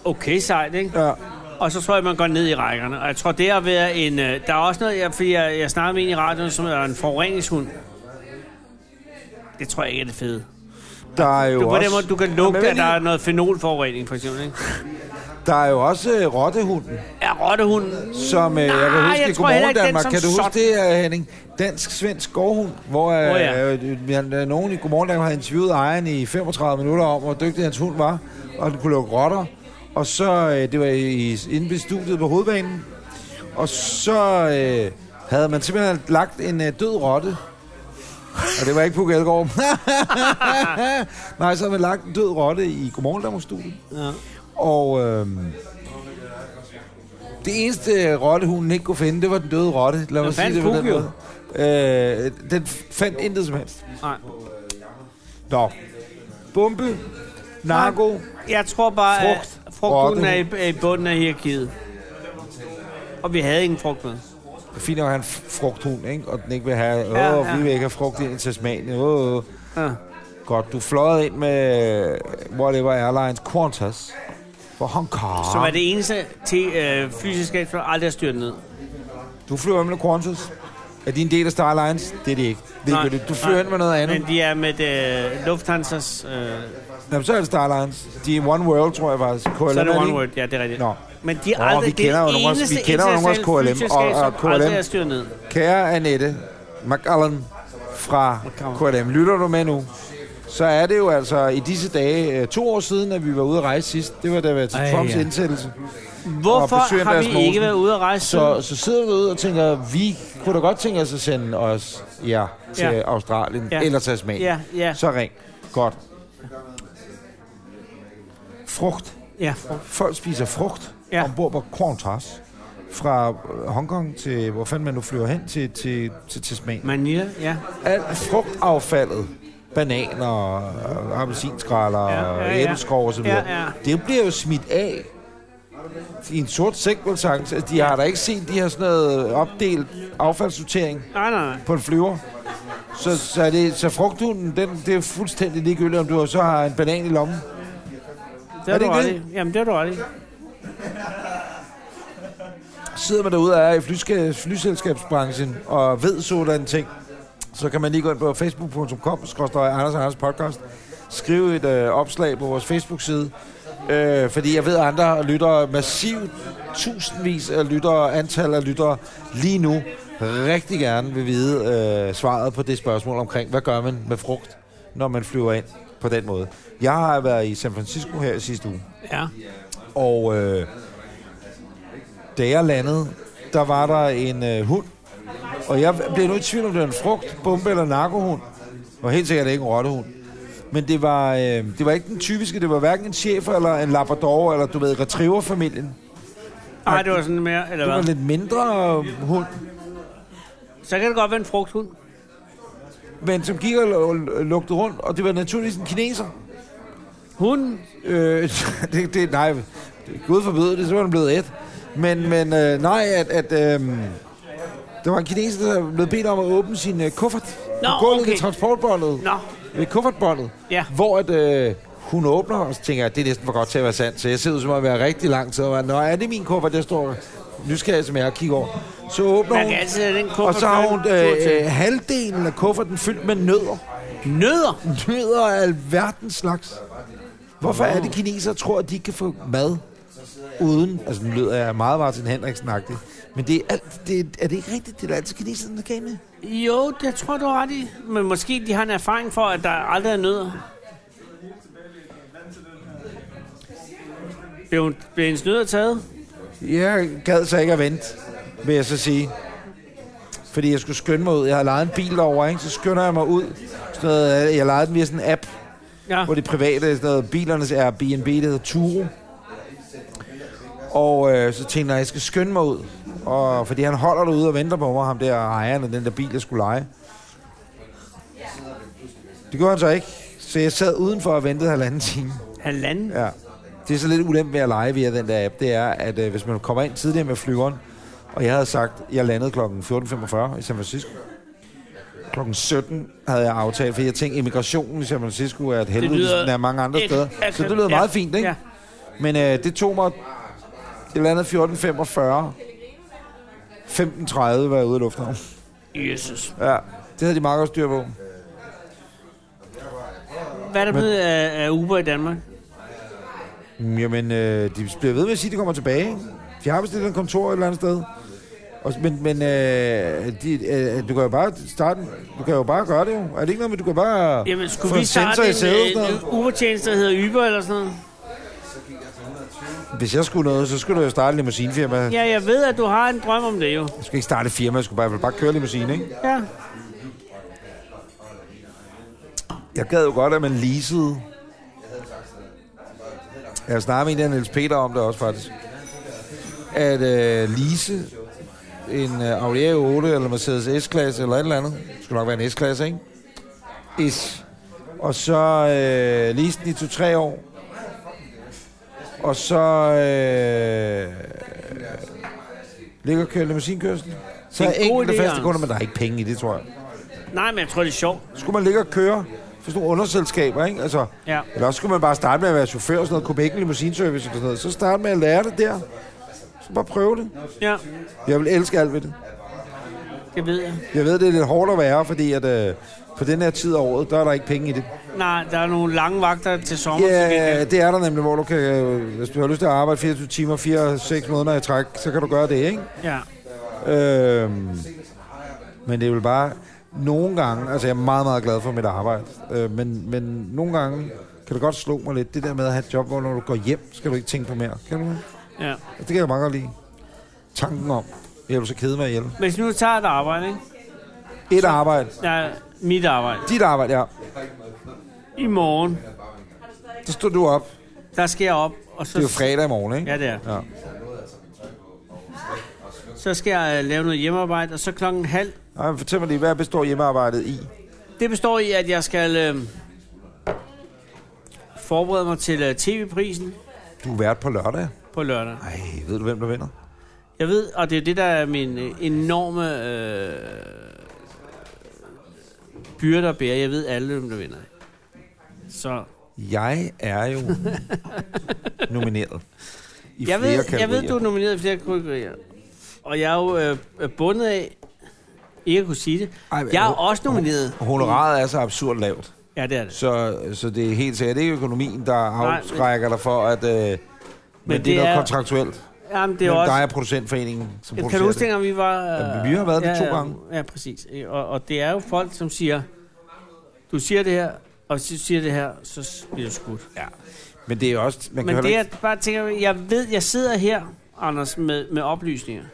Speaker 2: okay sejt, ikke?
Speaker 1: Ja.
Speaker 2: Og så tror jeg, man går ned i rækkerne. Og jeg tror, det har været en... øh, Der er også noget, jeg, fordi jeg, jeg snakkede med en i radioen, som er en forureningshund. Det tror jeg ikke er det fede.
Speaker 1: Der er jo
Speaker 2: Du, på den
Speaker 1: også,
Speaker 2: måde, du kan lugte,
Speaker 1: Jamen,
Speaker 2: at der er
Speaker 1: jeg
Speaker 2: noget fenolforurening, for eksempel. Ikke?
Speaker 1: Der er jo også øh, rottehunden,
Speaker 2: Er rottehunden...
Speaker 1: som øh, jeg
Speaker 2: Nej,
Speaker 1: kan huske
Speaker 2: jeg
Speaker 1: i
Speaker 2: tror heller
Speaker 1: Godmorgen
Speaker 2: ikke, den
Speaker 1: Danmark.
Speaker 2: som
Speaker 1: Kan du huske
Speaker 2: sådan-
Speaker 1: det, øh, Henning? Dansk-svensk gårdhund, hvor øh,
Speaker 2: Åh, ja.
Speaker 1: øh, vi har- nogen i Godmorgen Danmark havde interviewet ejeren i 35 minutter om, hvor dygtig hans hund var, og den kunne lukke rotter. Og så, øh, det var i, inde ved studiet på hovedbanen, og så øh, havde man simpelthen lagt en øh, død rotte. Og det var ikke Puk Elgård. *laughs* Nej, så havde man lagt en død rotte i Godmorgen Danmark-studiet.
Speaker 2: Ja.
Speaker 1: Og øh, det eneste øh, rotte, hun ikke kunne finde, det var den døde rotte. Lad mig sige
Speaker 2: fandt
Speaker 1: det på den
Speaker 2: Puk jo.
Speaker 1: måde. Øh, den f- fandt intet som helst.
Speaker 2: Nej.
Speaker 1: Nå. Bombe, narko,
Speaker 2: Jeg tror bare,
Speaker 1: Frugt.
Speaker 2: at frugten er i,
Speaker 1: Rottehund.
Speaker 2: er i bunden af hierarkiet. Og vi havde ingen frugt med.
Speaker 1: fint nok, han f- frugthund, ikke? Og den ikke vil have, åh,
Speaker 2: Ja,
Speaker 1: ja,
Speaker 2: ja.
Speaker 1: ja. vi vil ikke have frugt ind til smagen. Åh, åh.
Speaker 2: Ja.
Speaker 1: Godt, du fløjede ind med øh, whatever airlines, Qantas, for Hong Kong.
Speaker 2: Som er det eneste til øh, flyselskab, som aldrig har styrt ned.
Speaker 1: Du flyver med Qantas. Er de en del af Star Alliance? Det er de ikke. Det er
Speaker 2: Nej,
Speaker 1: ikke det. Du
Speaker 2: nej.
Speaker 1: flyver ind med noget andet.
Speaker 2: Men de er med øh, Lufthansas... Øh,
Speaker 1: Jamen, så er det Star Alliance. De er One World, tror jeg faktisk. KLM,
Speaker 2: så er det
Speaker 1: ikke?
Speaker 2: One World, ja, det er rigtigt.
Speaker 1: Nå.
Speaker 2: Men de er
Speaker 1: Nå,
Speaker 2: aldrig
Speaker 1: vi kender jo
Speaker 2: det
Speaker 1: nogle af- vi
Speaker 2: eneste
Speaker 1: kender jo nogle af
Speaker 2: internationale
Speaker 1: KLM,
Speaker 2: flyselskab,
Speaker 1: og- og
Speaker 2: som aldrig
Speaker 1: KLM.
Speaker 2: er styrt ned.
Speaker 1: Kære Annette McAllen fra KLM, lytter du med nu? Så er det jo altså i disse dage øh, to år siden, at vi var ude at rejse sidst. Det var da vi var til
Speaker 2: Ej,
Speaker 1: Trumps
Speaker 2: ja.
Speaker 1: indsættelse.
Speaker 2: Hvorfor
Speaker 1: besøger
Speaker 2: har
Speaker 1: Andreas
Speaker 2: vi
Speaker 1: Mogensen.
Speaker 2: ikke været ude at rejse
Speaker 1: Så,
Speaker 2: så,
Speaker 1: så sidder vi ude og tænker, vi kunne da godt tænke os at sende os ja, til
Speaker 2: Ja.
Speaker 1: ja. Australien
Speaker 2: Ja.
Speaker 1: ja. eller Tasmanien.
Speaker 2: Ja, ja.
Speaker 1: Så ring. Godt. Frugt.
Speaker 2: Ja,
Speaker 1: Folk spiser frugt
Speaker 2: Ja.
Speaker 1: ja. ombord på Qantas fra øh, Hongkong til, hvor fanden man nu flyver hen, til, til, til Tasmanien.
Speaker 2: Manila, ja.
Speaker 1: alt frugtaffaldet, bananer, øh, og appelsinskræller,
Speaker 2: Ja,
Speaker 1: ja,
Speaker 2: ja,
Speaker 1: ja,
Speaker 2: ja.
Speaker 1: æbleskov osv.,
Speaker 2: Ja,
Speaker 1: ja,
Speaker 2: ja.
Speaker 1: ja. det bliver jo smidt af i en sort sæk, vel sagt. Altså, de har da ikke set, de har sådan noget opdelt affaldssortering
Speaker 2: Nej, nej, nej.
Speaker 1: på en flyver. Så, så, er det, så frugthunden, den, det er fuldstændig ligegyldigt, om du så har en banan i lommen.
Speaker 2: Det er
Speaker 1: Er det
Speaker 2: du
Speaker 1: ikke
Speaker 2: ret i. Jamen, det er du ret i.
Speaker 1: Sidder man derude og er i flyska- flyselskabsbranchen og ved sådan ting, så kan man lige gå ind på facebook.com, skrøster Anders og Anders podcast, skrive et øh, opslag på vores Facebook-side, øh, fordi jeg ved, at andre lyttere, massivt tusindvis af lyttere, antal af lyttere lige nu, rigtig gerne vil vide øh, svaret på det spørgsmål omkring, hvad gør man med frugt, når man flyver ind på den måde. Jeg har været i San Francisco her i sidste uge,
Speaker 2: Ja.
Speaker 1: og øh, da jeg landede, der var der en øh, hund. Og jeg blev nu i tvivl om, det var en frugt, bombe eller narkohund. Og helt sikkert ikke en rottehund. Men det var, øh, det var ikke den typiske. Det var hverken en chefer eller en labrador, eller du ved, retrieverfamilien.
Speaker 2: Nej, det var sådan mere, eller
Speaker 1: Det var en
Speaker 2: hvad?
Speaker 1: lidt mindre øh, hund,
Speaker 2: Så kan det godt være en frugthund.
Speaker 1: men som gik og lu- lugtede rundt. Og det var naturligvis en kineser.
Speaker 2: Hunden?
Speaker 1: Øh, *laughs* det, det, nej, det- Gud forbyde det, så var den blevet et. Men, men øh, nej, at, at øh, der var en kineser, der blev bedt om at åbne sin øh, kuffert.
Speaker 2: Nå,
Speaker 1: på gulvet
Speaker 2: okay.
Speaker 1: ved transportbåndet.
Speaker 2: Nå.
Speaker 1: Ved kuffertbåndet.
Speaker 2: Ja.
Speaker 1: Hvor at, øh, hun åbner, og så tænker jeg, det er næsten for godt til at være sandt. Så jeg ser ud som om at være rigtig lang tid. Og jeg, Nå, er det min kuffert, der står nysgerrig, som jeg kigger over. Så åbner
Speaker 2: Man
Speaker 1: hun,
Speaker 2: kan altid have den kuffert.
Speaker 1: og så har hun
Speaker 2: med en tur
Speaker 1: øh,
Speaker 2: til.
Speaker 1: øh, halvdelen af kufferten fyldt med nødder. øh,
Speaker 2: Nødder?
Speaker 1: Nødder af alverdens slags. Hvorfor er det, kinesere tror, at de ikke kan få mad uden... Altså, nu lyder jeg meget Martin henriksen -agtig, men det er, alt, det, er- er det ikke rigtigt? Det er da altid kineserne, der kan det.
Speaker 2: Jo, det tror jeg, du har ret i. Men måske de har en erfaring for, at der aldrig er nødder. Blev, hun- blev hendes nødder taget?
Speaker 1: Jeg gad så ikke at vente, vil jeg så sige. Fordi jeg skulle skynde mig ud. Jeg har lejet en bil over, ikke? Så skynder jeg mig ud. Sådan noget, øh, jeg lejede den via sådan en app,
Speaker 2: Ja.
Speaker 1: hvor de private sådan noget, bilernes Airbnb, det hedder Turo. Og øh, så tænkte jeg, at jeg skal skynde mig ud. Og, fordi han holder derude og venter på mig, ham der ejeren af den der bil, jeg skulle lege. Det gjorde han så ikke. Så jeg sad udenfor og ventede halvanden time.
Speaker 2: Halvanden?
Speaker 1: Ja. Det er så lidt ulemt ved at lege via den der app, det er, at øh, hvis man kommer ind tidligere med flyveren, og jeg havde sagt, at jeg landede kl. 14.45 i San Francisco, Klokken 17 havde jeg aftalt, for jeg tænkte, immigrationen i San Francisco er et helvede, ligesom den er mange andre
Speaker 2: et- altså,
Speaker 1: steder. Så det lyder
Speaker 2: ja.
Speaker 1: meget fint, ikke?
Speaker 2: Ja.
Speaker 1: Men øh, det tog mig et eller andet 14.45. 15.30 var jeg ude af lufthavnen.
Speaker 2: Jesus.
Speaker 1: Ja, det havde de meget godt styr på.
Speaker 2: Hvad er der blevet af, af Uber i Danmark?
Speaker 1: Mm, Jamen, øh, de bliver ved med at sige, at de kommer tilbage. ikke? De har bestilt en kontor et eller andet sted. Og, s- men men øh, de, øh, du kan jo bare starte, du kan jo bare gøre det jo. Er det ikke noget med, du kan bare
Speaker 2: Jamen,
Speaker 1: få
Speaker 2: skulle
Speaker 1: en
Speaker 2: vi starte
Speaker 1: sensor i sædet? og
Speaker 2: en, øh,
Speaker 1: sådan
Speaker 2: en,
Speaker 1: noget?
Speaker 2: en Uber-tjeneste, der hedder Uber eller sådan noget?
Speaker 1: Hvis jeg skulle noget, så skulle du jo starte et limousinefirma. Ja.
Speaker 2: Ja, jeg ved, at du har en drøm om det jo.
Speaker 1: Jeg skulle ikke starte et firma, jeg skulle bare, jeg ville bare køre limousine, ikke?
Speaker 2: Ja.
Speaker 1: Jeg gad jo godt, at man leasede. Jeg snakker med en af Niels Peter om det også, faktisk. At øh, lease en øh, Audi A8 eller Mercedes S-klasse eller et eller andet. Det skulle nok være en S-klasse, ikke? S. Og så øh, lease den i 2-3 år. Og så øh, ligger og kører limousinkørsel. Så
Speaker 2: Det
Speaker 1: er
Speaker 2: er en god
Speaker 1: enkelte
Speaker 2: idé,
Speaker 1: faste
Speaker 2: Anders.
Speaker 1: kunder, men der er ikke penge i det, tror jeg.
Speaker 2: Nej, men jeg tror, det er sjovt.
Speaker 1: Skulle man ligge og køre for sådan nogle underselskaber, ikke? Altså,
Speaker 2: Ja.
Speaker 1: eller også skulle man bare starte med at være chauffør og sådan noget, Copenhagen Limousine Service og sådan noget. Så starte med at lære det der. Så bare prøve det.
Speaker 2: Ja,
Speaker 1: Jeg vil elske alt ved det.
Speaker 2: det ved jeg.
Speaker 1: Jeg ved, det er lidt hårdt at være, fordi at, øh, på den her tid af året, der er der ikke penge i det.
Speaker 2: Nej, der er nogle lange vagter til sommer. til
Speaker 1: Ja,
Speaker 2: gengæld.
Speaker 1: det er der nemlig, hvor du kan, øh, hvis du har lyst til at arbejde 24 timer, 4-6 måneder i træk, så kan du gøre det, ikke?
Speaker 2: ja.
Speaker 1: Øhm, men det er vel bare nogle gange, altså jeg er meget, meget glad for mit arbejde, øh, men, men nogle gange kan det godt slå mig lidt, det der med at have et job, hvor når du går hjem, skal du ikke tænke på mere. Kan du det?
Speaker 2: ja.
Speaker 1: Og Det kan jeg meget godt lide. Tanken om, jeg vil så kede mig ihjel.
Speaker 2: Hvis nu tager et arbejde, ikke?
Speaker 1: Et arbejde.
Speaker 2: Ja, mit arbejde.
Speaker 1: Dit arbejde, ja.
Speaker 2: I morgen,
Speaker 1: Så stod du op.
Speaker 2: der skal jeg op, og så...
Speaker 1: Det er jo fredag i morgen, ikke?
Speaker 2: Ja, det er.
Speaker 1: Ja.
Speaker 2: Så skal jeg øh, lave noget hjemmearbejde, og så klokken halv.
Speaker 1: Ej, men fortæl mig lige, hvad består hjemmearbejdet i?
Speaker 2: Det består i, at jeg skal øh, forberede mig til øh, tv-prisen
Speaker 1: Du er vært på lørdag.
Speaker 2: på lørdag.
Speaker 1: Ej, ved du, hvem der vinder?
Speaker 2: Jeg ved, og det er det, der er min øh, enorme øh, byrde at bære. Jeg ved alle, hvem der vinder. Så
Speaker 1: Jeg er
Speaker 2: *laughs*
Speaker 1: jo nomineret. I
Speaker 2: jeg
Speaker 1: flere
Speaker 2: ved, jeg ved,
Speaker 1: kategorier.
Speaker 2: du er nomineret i flere kategorier. Og jeg er jo øh, øh, bundet af ikke at kunne sige det.
Speaker 1: Ej, men-
Speaker 2: jeg er også nomineret.
Speaker 1: Honoraret er så absurd lavt,
Speaker 2: Ja, det er det.
Speaker 1: så, så det er helt sikkert ikke økonomien, der
Speaker 2: men-
Speaker 1: afskrækker dig for, at... Øh, men, men det,
Speaker 2: det
Speaker 1: det er noget
Speaker 2: er-
Speaker 1: kontraktuelt.
Speaker 2: Jamen, det
Speaker 1: Det
Speaker 2: er
Speaker 1: er
Speaker 2: også...
Speaker 1: dig og producentforeningen, som
Speaker 2: Kan
Speaker 1: producerer
Speaker 2: du huske,
Speaker 1: det.
Speaker 2: dengang vi var...
Speaker 1: Ja,
Speaker 2: øh,
Speaker 1: vi har været det
Speaker 2: ja,
Speaker 1: to
Speaker 2: ja,
Speaker 1: gange.
Speaker 2: Ja, præcis. Øh, Og, og det er jo folk, som siger, du siger det her, og hvis du siger det her, så bliver du skudt. Ja.
Speaker 1: Men det er også... Man kan
Speaker 2: Men det,
Speaker 1: heller
Speaker 2: jeg bare tænker, jeg ved, jeg sidder her, Anders, med, med oplysninger.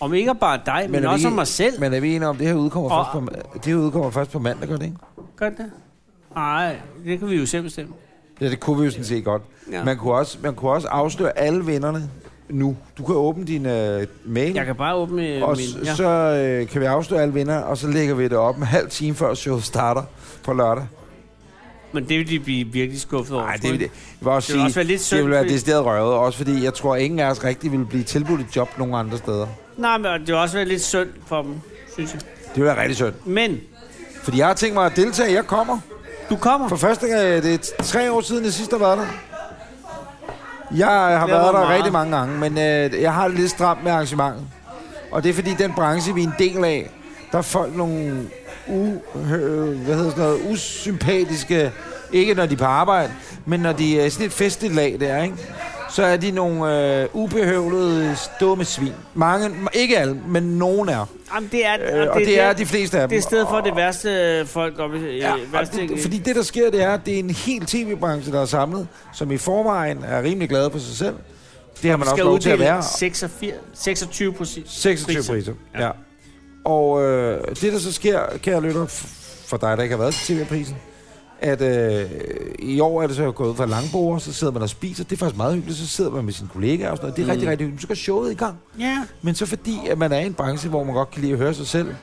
Speaker 2: Om ikke bare dig, men,
Speaker 1: Men
Speaker 2: men
Speaker 1: er vi
Speaker 2: også om
Speaker 1: ikke-
Speaker 2: mig selv.
Speaker 1: ikke... Men er vi enige om, det her udkommer,
Speaker 2: Og-
Speaker 1: først, på, ma- det her udkommer først på mandag, gør det ikke?
Speaker 2: Gør det? Nej, det kan vi jo selv bestemme.
Speaker 1: Ja, det kunne vi jo sådan set godt.
Speaker 2: Ja.
Speaker 1: Ja. Man, kunne også, man kunne også afsløre alle vinderne nu. Du kan åbne din øh, mail.
Speaker 2: Jeg kan bare åbne øh,
Speaker 1: Og
Speaker 2: min...
Speaker 1: s-
Speaker 2: Ja.
Speaker 1: så øh, kan vi afsløre alle vinder, og så lægger vi det op en halv time før showet starter på lørdag.
Speaker 2: Men det vil de blive virkelig skuffet over.
Speaker 1: Nej,
Speaker 2: tror
Speaker 1: det
Speaker 2: jeg.
Speaker 1: vil, det vil også
Speaker 2: Det vil
Speaker 1: sige,
Speaker 2: også være lidt synd,
Speaker 1: det vil være
Speaker 2: fordi-
Speaker 1: decideret røvet, også fordi jeg tror, at ingen af os rigtig ville blive tilbudt et job nogen andre steder.
Speaker 2: Nej, men det vil også være lidt synd for dem, synes jeg.
Speaker 1: Det vil være rigtig synd.
Speaker 2: Men,
Speaker 1: Fordi jeg har tænkt mig at deltage, jeg kommer.
Speaker 2: du kommer.
Speaker 1: For første gang, øh, det er t- tre år siden, jeg sidst har været der. Jeg øh, har
Speaker 2: Glæder
Speaker 1: været der
Speaker 2: mig meget.
Speaker 1: rigtig mange gange, men øh, jeg har det lidt stramt med arrangementet. Og det er fordi, den branche, vi er en del af, der er folk nogle u, øh, hvad hedder sådan noget, usympatiske, ikke når de er på arbejde, men når de er sådan et festligt lag der, ikke? så er de nogle øh, ubehøvlede, dumme svin. Mange, ikke alle, men nogen er.
Speaker 2: Jamen, det er, øh,
Speaker 1: Øh, og det, det er de fleste af dem.
Speaker 2: det er stedet for det værste øh, folk op i ja,
Speaker 1: og
Speaker 2: værste,
Speaker 1: det, fordi det, der sker, det er, at det er en hel tv-branche, der er samlet, som i forvejen er rimelig glad på sig selv. Det har man også
Speaker 2: øh, skal
Speaker 1: lov til at være.
Speaker 2: uddele 86, 26 procent.
Speaker 1: 26 priser. priser. Ja. ja. Og øh, det, der så sker, kære lytter, f- for dig, der ikke har været til tv-prisen, at øh, i år er det så gået fra langbord, så sidder man og spiser. Det er faktisk meget hyggeligt. Så sidder man med sine kollegaer og sådan noget. Det er mm. rigtig, rigtig hyggeligt. Så går showet i gang.
Speaker 2: Ja.
Speaker 1: Men så fordi, at man er i en branche, hvor man godt kan lide at høre sig selv,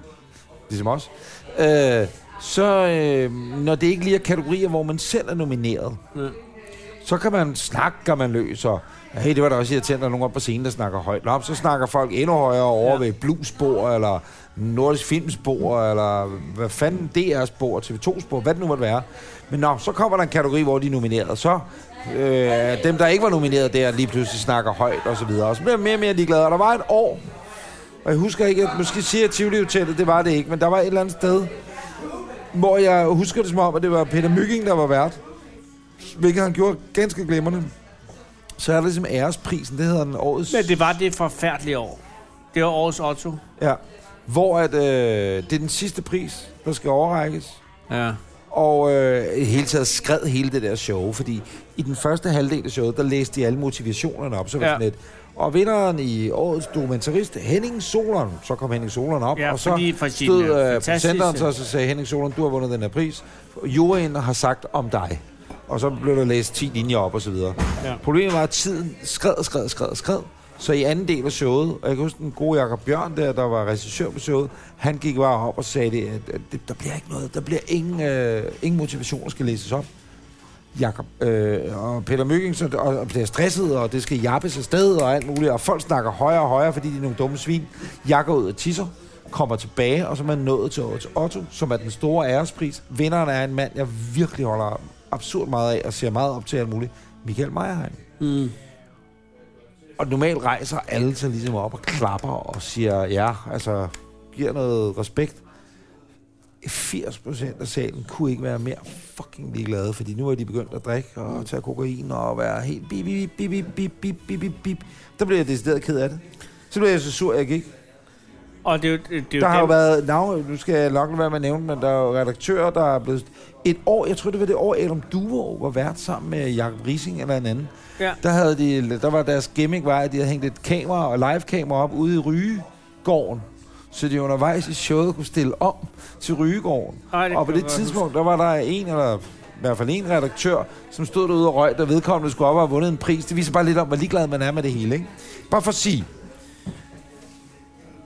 Speaker 1: *laughs* ligesom os, øh, så øh, når det ikke lige er kategorier, hvor man selv er nomineret,
Speaker 2: Ja.
Speaker 1: så Så kan man snakke, man løs, og hey, det var da også irriterende, at nogen oppe på scenen, der snakker højt. Nå, så snakker folk endnu højere over ja. ved bluesbord, eller nordisk filmspor, eller hvad fanden DR-spor, TV2-spor, hvad det nu måtte være. Men nå, så kommer der en kategori, hvor de er nomineret, så øh, dem, der ikke var nomineret der, lige pludselig snakker højt og så videre. Og så bliver jeg mere og mere ligeglad. Og der var et år, og jeg husker ikke, at måske siger jeg Tivoli Hotellet, det var det ikke, men der var et eller andet sted, hvor jeg husker det som om, at det var Peter Mygging, der var vært. Hvilket han gjorde ganske glimrende. Så er der ligesom æresprisen, det hedder den årets...
Speaker 2: Men det var det forfærdelige år. Det var årets Otto.
Speaker 1: Ja. Hvor at, øh, det er den sidste pris, der skal overrækkes.
Speaker 2: Ja.
Speaker 1: Og øh, i det hele taget skred hele det der show, fordi i den første halvdel af showet, der læste de alle motivationerne op, så var
Speaker 2: Ja.
Speaker 1: ja. sådan lidt. Og vinderen i årets dokumentarist, Henning Solon, så kom Henning Solon op,
Speaker 2: Ja,
Speaker 1: og så
Speaker 2: fordi for sin,
Speaker 1: stod
Speaker 2: øh,
Speaker 1: øh,
Speaker 2: fantastiske-
Speaker 1: producenteren så, og så sagde Henning Solon, du har vundet den her pris. Juryen har sagt om dig. Og så blev der læst 10 linjer op og så videre.
Speaker 2: Ja.
Speaker 1: Problemet var, at tiden skred og skred og skred og skred. Så i anden del af showet, og jeg kan huske den gode Jakob Bjørn der, der var regissør på showet, han gik bare op og sagde, det, at, at det, der bliver ikke noget, der bliver ingen, øh, ingen motivation, der skal læses op. Jakob øh, og Peter Møging så, og, og bliver stresset, og det skal jappes afsted og alt muligt, og folk snakker højere og højere, fordi de er nogle dumme svin. Jeg går ud og tisser, kommer tilbage, og så er man nået til Otto, Otto, som er den store ærespris. Vinderen er en mand, jeg virkelig holder absurd meget af, og ser meget op til alt muligt. Michael Meierheim.
Speaker 2: Mm.
Speaker 1: Og normalt rejser alle sig ligesom op og klapper og siger ja, altså giver noget respekt. 80% af salen kunne ikke være mere fucking ligeglade, fordi nu er de begyndt at drikke og tage kokain og være helt bip, bip, bip, bip, bip, bip, bip, bip, bip. Der blev jeg decideret ked af det. Så blev jeg så sur, jeg gik.
Speaker 2: Og det er jo, det er jo
Speaker 1: Der har jo
Speaker 2: dem-
Speaker 1: været, navn, nu skal jeg nok lade være med at nævne, men der er jo redaktører, der er blevet... Et år, jeg tror det var det år, Adam Duvo var vært sammen med Jacob Rising eller en anden.
Speaker 2: Ja.
Speaker 1: Der, havde de, der var deres gimmick, var, at de havde hængt et kamera og live-kamera op ude i Rygegården. Så de undervejs i showet kunne stille om til Rygegården.
Speaker 2: Ej, det
Speaker 1: og på
Speaker 2: kan
Speaker 1: det
Speaker 2: jeg godt
Speaker 1: tidspunkt, der var der en eller i hvert fald en redaktør, som stod derude og røg, der vedkommende skulle op og have vundet en pris. Det viser bare lidt om, hvor ligeglad man er med det hele, ikke? Bare for at sige,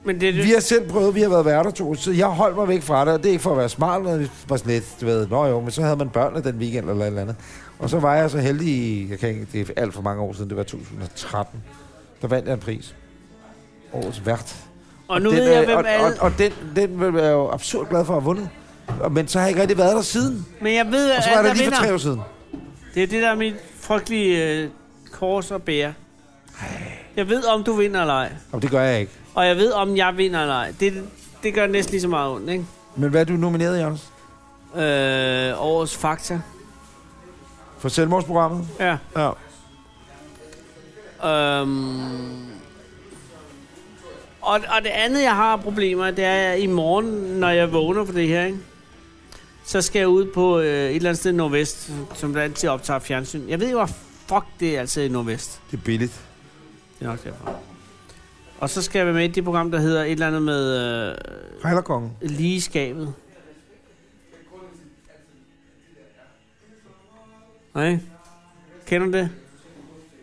Speaker 2: Men det, er det,
Speaker 1: vi har selv prøvet, vi har været værter to, så jeg holdt mig væk fra det, og det er ikke for at være smart, men det var sådan lidt, du ved, nå jo, men så havde man børnene den weekend eller et eller andet. Og så var jeg så heldig, i- jeg kan ikke, det er alt for mange år siden, det var 2013, der vandt jeg en pris. Årets vært.
Speaker 2: og nu
Speaker 1: den,
Speaker 2: ved jeg,
Speaker 1: øh,
Speaker 2: hvem
Speaker 1: og,
Speaker 2: alle...
Speaker 1: og, og, den, den var jeg jo absurd glad for at have vundet. Og- Men så har jeg ikke rigtig været der siden.
Speaker 2: men jeg ved,
Speaker 1: Og
Speaker 2: at
Speaker 1: så var
Speaker 2: alle,
Speaker 1: jeg der
Speaker 2: der
Speaker 1: lige for tre
Speaker 2: vinder.
Speaker 1: år siden.
Speaker 2: Det er det, der er mit frygtelige øh, kors og bære. Jeg ved, om du vinder eller ej.
Speaker 1: Og det gør jeg ikke.
Speaker 2: Og jeg ved, om jeg vinder eller ej. Det, det gør næsten lige så meget ondt, ikke?
Speaker 1: Men hvad er du nomineret, Jørgens?
Speaker 2: Øh, årets fakta.
Speaker 1: For selvmordsprogrammet?
Speaker 2: Ja.
Speaker 1: Ja.
Speaker 2: Øhm, og, og det andet, jeg har problemer, det er, at i morgen, når jeg vågner for det her, ikke? så skal jeg ud på øh, et eller andet sted i Nordvest, som der altid optager fjernsyn. Jeg ved jo, hvor fuck det er altid i Nordvest.
Speaker 1: Det er billigt.
Speaker 2: Det er nok derfor. Og så skal jeg være med i det program, der hedder et eller andet med øh,
Speaker 1: Hejlerkongen.
Speaker 2: ligeskabet. Nej? Kender du det?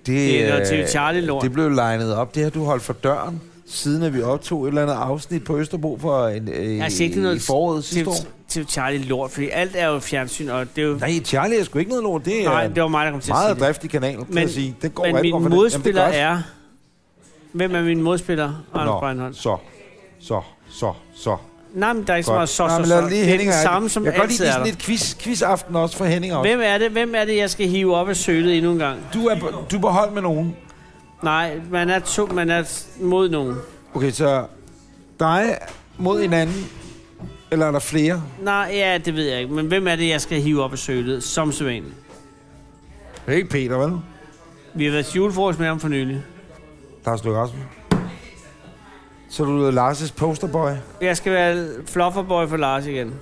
Speaker 2: Det er noget
Speaker 1: øh,
Speaker 2: TV Charlie-lort.
Speaker 1: Det blev legnet op. Det har du holdt for døren, siden at vi optog et eller andet afsnit på Østerbro for en, øh,
Speaker 2: Jeg har set det noget
Speaker 1: i foråret sidste år.
Speaker 2: Til Charlie lort, fordi alt er jo fjernsyn, og det er jo... Nej,
Speaker 1: Nej, Charlie er sgu ikke noget lort. Det er
Speaker 2: nej
Speaker 1: en
Speaker 2: det var mig, der kom til
Speaker 1: meget
Speaker 2: at sige det.
Speaker 1: driftig kanal, kan
Speaker 2: Men-
Speaker 1: jeg sige. Det går
Speaker 2: Men
Speaker 1: rigtig
Speaker 2: min
Speaker 1: godt for den. Jamen, det
Speaker 2: modspiller
Speaker 1: gør også-
Speaker 2: er... Hvem er min modspiller, Anders
Speaker 1: Nå,
Speaker 2: Breinholt?
Speaker 1: så, så, så, så.
Speaker 2: Nej, men der er ikke så
Speaker 1: Godt.
Speaker 2: meget så,
Speaker 1: Nej,
Speaker 2: så,
Speaker 1: men
Speaker 2: så.
Speaker 1: lad
Speaker 2: Det er den
Speaker 1: Henning have
Speaker 2: samme, som
Speaker 1: Jeg kan godt lide
Speaker 2: altid
Speaker 1: lige
Speaker 2: er
Speaker 1: sådan
Speaker 2: der.
Speaker 1: lidt quiz, quiz-aften også for Henning også.
Speaker 2: Hvem er det, hvem er det, jeg skal hive op af sølet endnu en gang?
Speaker 1: Du er, på- du er på hold med nogen.
Speaker 2: Nej, man er, to, man er mod nogen.
Speaker 1: Okay, så dig mod en anden. Eller er der flere?
Speaker 2: Nej, ja, det ved jeg ikke. Men hvem er det, jeg skal hive op af sølet, som sædvanligt?
Speaker 1: Det er ikke Peter, vel?
Speaker 2: Vi har været til julefrokost med ham for nylig.
Speaker 1: Lars Løkke Rasmussen. Så er du Lars' posterboy.
Speaker 2: Jeg skal være flufferboy for Lars igen.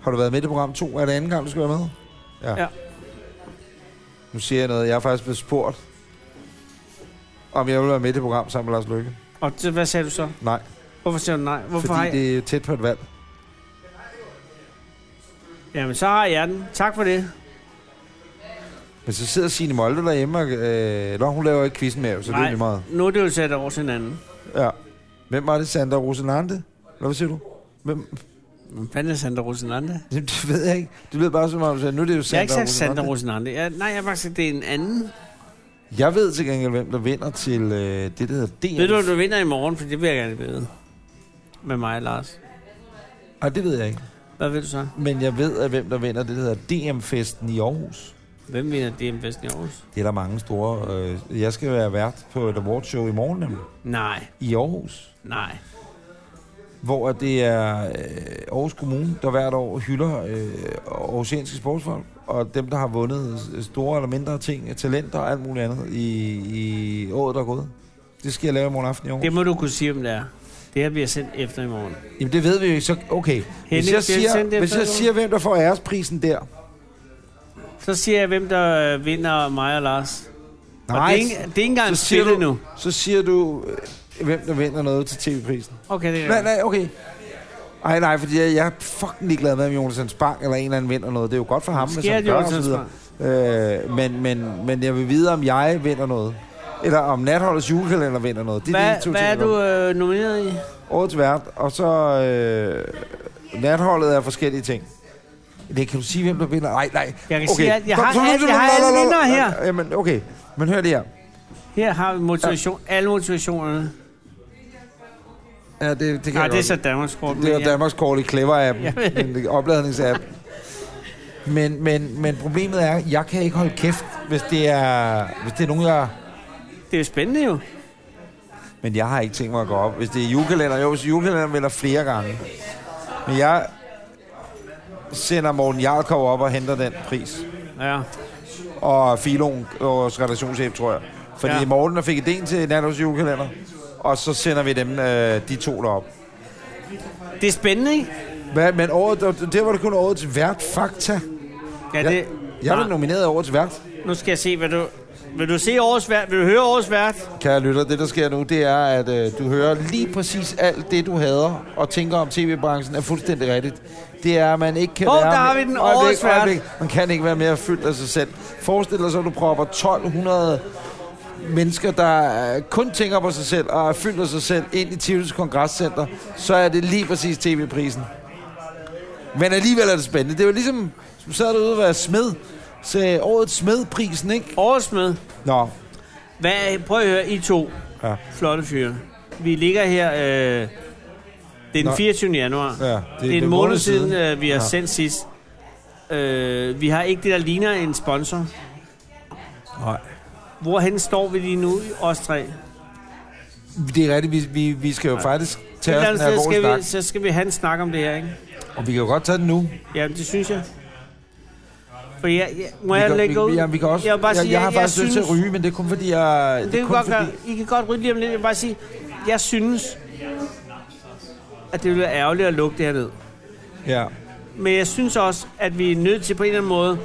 Speaker 1: Har du været med i det program 2? Er det anden gang, du skal være med?
Speaker 2: Ja.
Speaker 1: Nu siger jeg noget. Jeg er faktisk blevet spurgt, om jeg vil være med i det program sammen med Lars Løkke.
Speaker 2: Og så, hvad sagde du så?
Speaker 1: Nej,
Speaker 2: Hvorfor siger du nej? Hvorfor
Speaker 1: Hvorfor
Speaker 2: har
Speaker 1: fordi
Speaker 2: jeg...
Speaker 1: det er tæt på et valg.
Speaker 2: Jamen, så har jeg den. Tak for det.
Speaker 1: Men så sidder Signe Molde derhjemme, og øh, nå, hun laver ikke quizzen mere, så Nej. det
Speaker 2: Nej.
Speaker 1: er lige meget.
Speaker 2: Nu er det jo sat over til hinanden.
Speaker 1: Ja. Hvem *laughs* var det? Sandra Rosenante? Eller Hvad siger du? Hvem?
Speaker 2: Hvem fanden er Sandra Rosinante?
Speaker 1: Jamen, det ved jeg ikke. Det lyder bare som om, du sagde, nu er det jo
Speaker 2: Jeg har
Speaker 1: Sandra
Speaker 2: ikke sagt Sandra
Speaker 1: Rosenholm.
Speaker 2: Rosinante. Jeg, nej, jeg har faktisk sagt, det er en anden.
Speaker 1: Jeg ved til gengæld, hvem der vinder til øh, det, der hedder DM.
Speaker 2: Ved du, hvad du vinder i morgen? For det vil jeg gerne vide. Med mig og Lars.
Speaker 1: Ej, det ved jeg ikke.
Speaker 2: Hvad ved du så?
Speaker 1: Men jeg ved, at hvem der vinder det, der hedder DM-festen i Aarhus.
Speaker 2: Hvem vinder DM Festen i Aarhus?
Speaker 1: Det er der mange store... Øh, jeg skal være vært på et awardshow i morgen nemlig,
Speaker 2: Nej,
Speaker 1: i Aarhus.
Speaker 2: nej.
Speaker 1: Hvor at det er øh, Aarhus Kommune, der hvert år hylder øh, aarhusianske sportsfolk. Og dem, der har vundet øh, store eller mindre ting, talenter og alt muligt andet i, i året, der er gået. Det skal jeg lave i morgen aften i Aarhus.
Speaker 2: Det må du kunne sige, om det er. Det her bliver sendt efter i morgen.
Speaker 1: Jamen, det ved vi jo ikke. Så, okay. Hvis
Speaker 2: Henning,
Speaker 1: jeg,
Speaker 2: det er sendt
Speaker 1: siger,
Speaker 2: efter
Speaker 1: hvis jeg
Speaker 2: i går.
Speaker 1: siger, hvem der får æresprisen der...
Speaker 2: Så siger jeg, hvem der øh, vinder mig og Lars. Og det, er ikke, det er ikke engang
Speaker 1: så siger
Speaker 2: spillet
Speaker 1: du,
Speaker 2: nu.
Speaker 1: Så siger du, øh, hvem der vinder noget til tv-prisen.
Speaker 2: Okay, det er
Speaker 1: Nej,
Speaker 2: nej,
Speaker 1: nej, okay. Ej, nej, fordi jeg, jeg er fucking ligeglad med, om Jonas Hans Bang eller en eller anden vinder noget. Det er jo godt for ham, hvis
Speaker 2: Sker
Speaker 1: han
Speaker 2: det,
Speaker 1: gør og
Speaker 2: Jonas
Speaker 1: så videre. Øh, men, men, men jeg vil vide, om jeg vinder noget. Eller om Natholdets julekalender vinder noget. Det er de to
Speaker 2: Hvad, hvad er
Speaker 1: ting, jeg
Speaker 2: du øh, nomineret i?
Speaker 1: Årets vært, og så øh, natholdet er forskellige ting. Det kan du sige, hvem der vinder? Nej, nej.
Speaker 2: Jeg kan sige alt. Jeg har alt- jeg har
Speaker 1: la- la-
Speaker 2: alle
Speaker 1: la-
Speaker 2: vindere her.
Speaker 1: la- Jamen, okay. Men hør det her.
Speaker 2: Her har vi motivation. Alle motivationerne.
Speaker 1: Ja, det, det kan
Speaker 2: Nej,
Speaker 1: jeg
Speaker 2: det er
Speaker 1: godt.
Speaker 2: så Danmarks kort.
Speaker 1: Det er jo Danmarks kort i Clever-appen.
Speaker 2: Jeg ved
Speaker 1: En opladningsapp. Men, men, men problemet er, jeg kan ikke holde kæft, hvis det er, hvis det er nogen, jeg...
Speaker 2: Det er jo spændende jo.
Speaker 1: Men jeg har ikke tænkt mig at gå op. Hvis det er julekalender, jo, hvis julekalenderen vender flere gange. Men jeg sender Morten Jarlkov op og henter den pris.
Speaker 2: Ja.
Speaker 1: og Filon, vores redaktionschef, tror jeg. Fordi ja.
Speaker 2: Ja.
Speaker 1: Morten der fik idéen til Nandos julekalender, og så sender vi dem, øh, de to derop.
Speaker 2: Det er spændende, ikke?
Speaker 1: Hvad, men året, der, der var det kun årets vært fakta.
Speaker 2: Ja,
Speaker 1: Jeg,
Speaker 2: det...
Speaker 1: jeg
Speaker 2: Nej,
Speaker 1: blev nomineret af årets vært.
Speaker 2: Nu skal jeg se, hvad du... Vil du se årets vært? Vil du høre årets vært?
Speaker 1: Kære lytter, det der sker nu, det er, at øh, du hører lige præcis alt det, du hader og tænker om tv-branchen er fuldstændig rigtigt. Det er, at man ikke kan
Speaker 2: Hov,
Speaker 1: være...
Speaker 2: der har vi den
Speaker 1: Øjeblik,
Speaker 2: årets vært.
Speaker 1: øjeblik. Man kan ikke være mere fyldt af sig selv. Forestil dig så, at du propper 1200 mennesker, der øh, kun tænker på sig selv og er fyldt af sig selv ind i Tivolis Kongresscenter, så er det lige præcis tv-prisen. Men alligevel er det spændende. Det var ligesom, som sad derude og var smed, sagde årets smedprisen, ikke?
Speaker 2: Årets med.
Speaker 1: Nå,
Speaker 2: Hvad, prøv at høre, I to
Speaker 1: Ja.
Speaker 2: ja. flotte fyre. Vi ligger her, øh, det er
Speaker 1: Nå.
Speaker 2: den 24. januar.
Speaker 1: ja.
Speaker 2: Det, det er en måned siden, øh, vi har
Speaker 1: Ja.
Speaker 2: ja. sendt sidst. Øh, vi har ikke det, der ligner en sponsor.
Speaker 1: Nej.
Speaker 2: Hvorhen står vi lige nu, os tre? Et
Speaker 1: Det er rigtigt, vi, vi, vi skal jo Nej. faktisk tage
Speaker 2: eller
Speaker 1: os
Speaker 2: andet
Speaker 1: den her
Speaker 2: sted
Speaker 1: vores
Speaker 2: skal
Speaker 1: snak,
Speaker 2: vi, så skal vi have en snak om det her, ikke?
Speaker 1: og vi kan jo godt tage den nu.
Speaker 2: Ja, det synes jeg. For jeg, jeg må
Speaker 1: vi
Speaker 2: jeg
Speaker 1: kan,
Speaker 2: lægge
Speaker 1: vi,
Speaker 2: ud?
Speaker 1: Ja, vi kan også,
Speaker 2: jeg vil bare sige,
Speaker 1: jeg, jeg har
Speaker 2: jeg,
Speaker 1: faktisk
Speaker 2: jeg
Speaker 1: lyst til
Speaker 2: synes,
Speaker 1: at ryge, men det er kun fordi, jeg...
Speaker 2: Det kan
Speaker 1: er
Speaker 2: vi godt
Speaker 1: kun
Speaker 2: gøre. I kan godt rydde lige om lidt. Jeg vil bare sige, jeg synes, at det ville være ærgerligt at lukke det her ned.
Speaker 1: Ja.
Speaker 2: Men jeg synes også, at vi er nødt til på en eller anden måde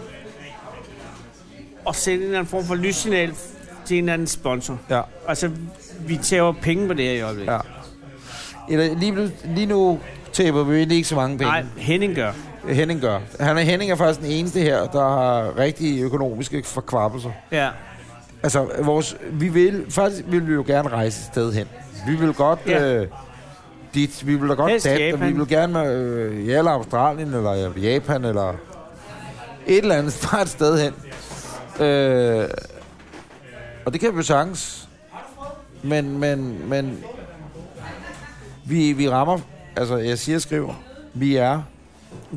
Speaker 2: at sende en eller anden form for lyssignal til en eller anden sponsor.
Speaker 1: Ja,
Speaker 2: Altså, vi tager penge på det her i øjeblikket.
Speaker 1: ja. Eller lige, nu- lige nu taber vi egentlig ikke så mange penge.
Speaker 2: Nej, Henning gør.
Speaker 1: Henning gør. Han er, Henning er faktisk den eneste her, der har rigtige økonomiske forkvabelser.
Speaker 2: Ja.
Speaker 1: Altså, vores, vi vil, faktisk vil vi jo gerne rejse et sted hen. Vi vil godt...
Speaker 2: Ja.
Speaker 1: Øh, dit, vi vil da godt
Speaker 2: Helst
Speaker 1: dat, og vi
Speaker 2: Japan.
Speaker 1: vil gerne øh, ja, eller Australien, eller Japan, eller et eller andet *laughs* fra et sted hen. Øh, og det kan vi jo sagtens. Men, men, men vi, vi rammer, altså jeg siger og skriver, vi er,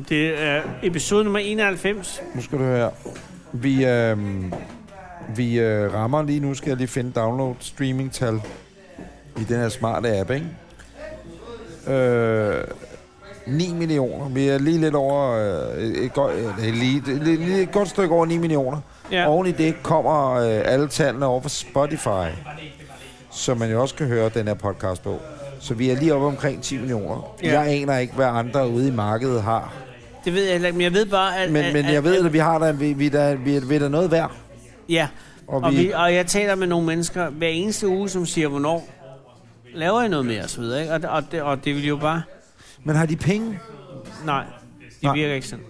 Speaker 2: Det er øh, episode nummer 91.
Speaker 1: nu skal du høre, vi, øh, vi øh, rammer lige nu, skal jeg lige finde download streaming tal i den her smarte app, ikke? Øh, 9 millioner. Vi er lige lidt over øh, et, godt, øh, lige, et, lige, lige et godt stykke over 9 millioner. Ja.
Speaker 2: Ja.
Speaker 1: Oven i det kommer øh, alle tallene over for Spotify, som man jo også kan høre den her podcast på. Så vi er lige oppe omkring 10 millioner. Ja.
Speaker 2: Ja.
Speaker 1: Jeg aner ikke, hvad andre ude i markedet har.
Speaker 2: Det ved jeg heller ikke, men jeg ved bare, at...
Speaker 1: Men,
Speaker 2: at,
Speaker 1: men jeg
Speaker 2: at-
Speaker 1: ved, at vi har da, vi, vi, da, vi, vi er da noget værd.
Speaker 2: Ja,
Speaker 1: Og
Speaker 2: og,
Speaker 1: vi-
Speaker 2: og, vi, og jeg taler med nogle mennesker hver eneste uge, som siger, hvornår laver jeg noget mere og så videre, ikke? Og, og, det, og det vil jo bare...
Speaker 1: Men har de penge?
Speaker 2: Nej, det
Speaker 1: Nej.
Speaker 2: virker ikke sådan.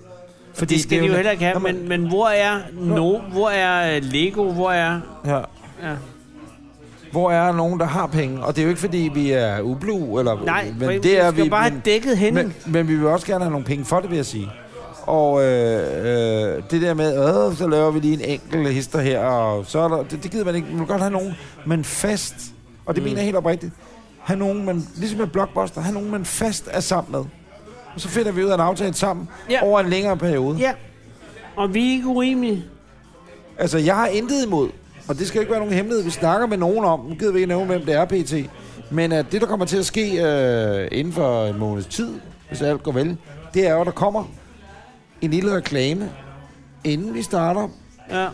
Speaker 1: Fordi
Speaker 2: Det skal de jo heller ikke have,
Speaker 1: Jamen,
Speaker 2: men, men hvor er no, hvor er øh, Lego, hvor er...
Speaker 1: Ja.
Speaker 2: Ja.
Speaker 1: hvor er nogen, der har penge? Og det er jo ikke, fordi vi er ublu, eller...
Speaker 2: Nej,
Speaker 1: men
Speaker 2: men
Speaker 1: det er
Speaker 2: vi skal
Speaker 1: vi,
Speaker 2: bare have
Speaker 1: men,
Speaker 2: dækket hende.
Speaker 1: men, men vi vil også gerne have nogle penge for det, vil jeg sige. Og øh, øh, det der med, øh, så laver vi lige en enkelt hister her, og så er der, det, det gider man ikke. Man vil godt have nogen, men fast. Og det mm. mener jeg helt oprigtigt. Have nogen, man, ligesom med Blockbuster, have nogen, man fast er sammen med. Og så finder vi ud af en aftale sammen
Speaker 2: Ja.
Speaker 1: ja. over en længere periode.
Speaker 2: Ja, og vi er ikke urimelige.
Speaker 1: Altså, jeg har intet imod, og det skal ikke være nogen hemmelighed, vi snakker med nogen om, nu gider vi ikke nævne, hvem det er, PT, men at det, der kommer til at ske øh, inden for en måneds tid, hvis alt går vel, det er jo, at der kommer en lille reklame, inden vi starter
Speaker 2: Ja.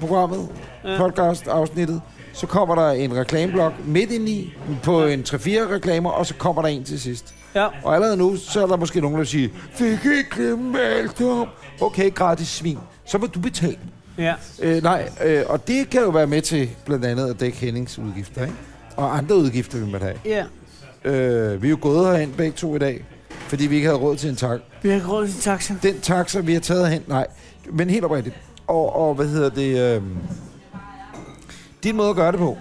Speaker 1: programmet,
Speaker 2: Ja.
Speaker 1: podcast-afsnittet, så kommer der en reklameblok midt indeni på en 3-4 reklamer, og så kommer der en til sidst.
Speaker 2: ja.
Speaker 1: Og allerede nu, så er der måske nogen, der siger, vi kan ikke glemme alt om. Okay, gratis svin. Så må du betale.
Speaker 2: ja.
Speaker 1: Øh, nej, øh, og det kan jo være med til blandt andet at dække Hennings udgifter, ikke? Og andre udgifter, vi måtte have.
Speaker 2: ja.
Speaker 1: Øh, vi er jo gået herhen begge to i dag, fordi vi ikke havde råd til en tak.
Speaker 2: Vi har råd til taxa.
Speaker 1: Den taxa, vi har taget hen, nej, men helt oprigtigt. Og, og hvad hedder det? Øh, din måde at gøre det på.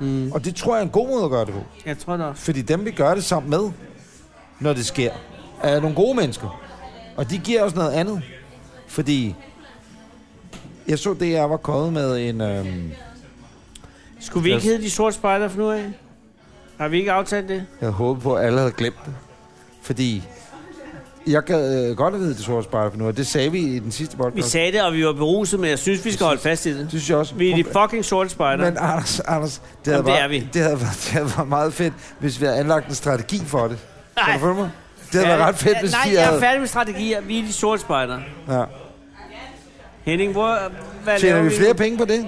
Speaker 1: Mm. Og det tror jeg er en god måde at gøre det på.
Speaker 2: Jeg tror det også.
Speaker 1: Fordi dem, vi gør det sammen med, når det sker, er nogle gode mennesker. Og de giver os noget andet. Fordi jeg så det, jeg var kommet med en... Øhm,
Speaker 2: Skulle vi ikke hedde de sorte spejder for nu af? Har vi ikke aftalt det?
Speaker 1: Jeg havde håbet på, at alle havde glemt det. Fordi jeg gad øh, godt at vide, at det sorte spejder for nu, og det sagde vi i den sidste podcast.
Speaker 2: Vi sagde det, og vi var beruset, men jeg synes, vi skal holde fast i
Speaker 1: det
Speaker 2: det.
Speaker 1: synes jeg også.
Speaker 2: Vi er de fucking sorte spejder.
Speaker 1: Men Anders, Anders det,
Speaker 2: Jamen,
Speaker 1: havde
Speaker 2: det
Speaker 1: været-
Speaker 2: er vi.
Speaker 1: Det, havde, været- det havde været meget fedt, hvis vi havde anlagt en strategi for det. Kan du følge mig? Det havde
Speaker 2: Ja,
Speaker 1: været ret fedt,
Speaker 2: ja,
Speaker 1: hvis
Speaker 2: Nej,
Speaker 1: de
Speaker 2: jeg er
Speaker 1: havde...
Speaker 2: færdig med strategier. Vi er de sorte spejder.
Speaker 1: Ja.
Speaker 2: Henning, hvor, hvad
Speaker 1: Tjener
Speaker 2: laver
Speaker 1: vi flere penge på det?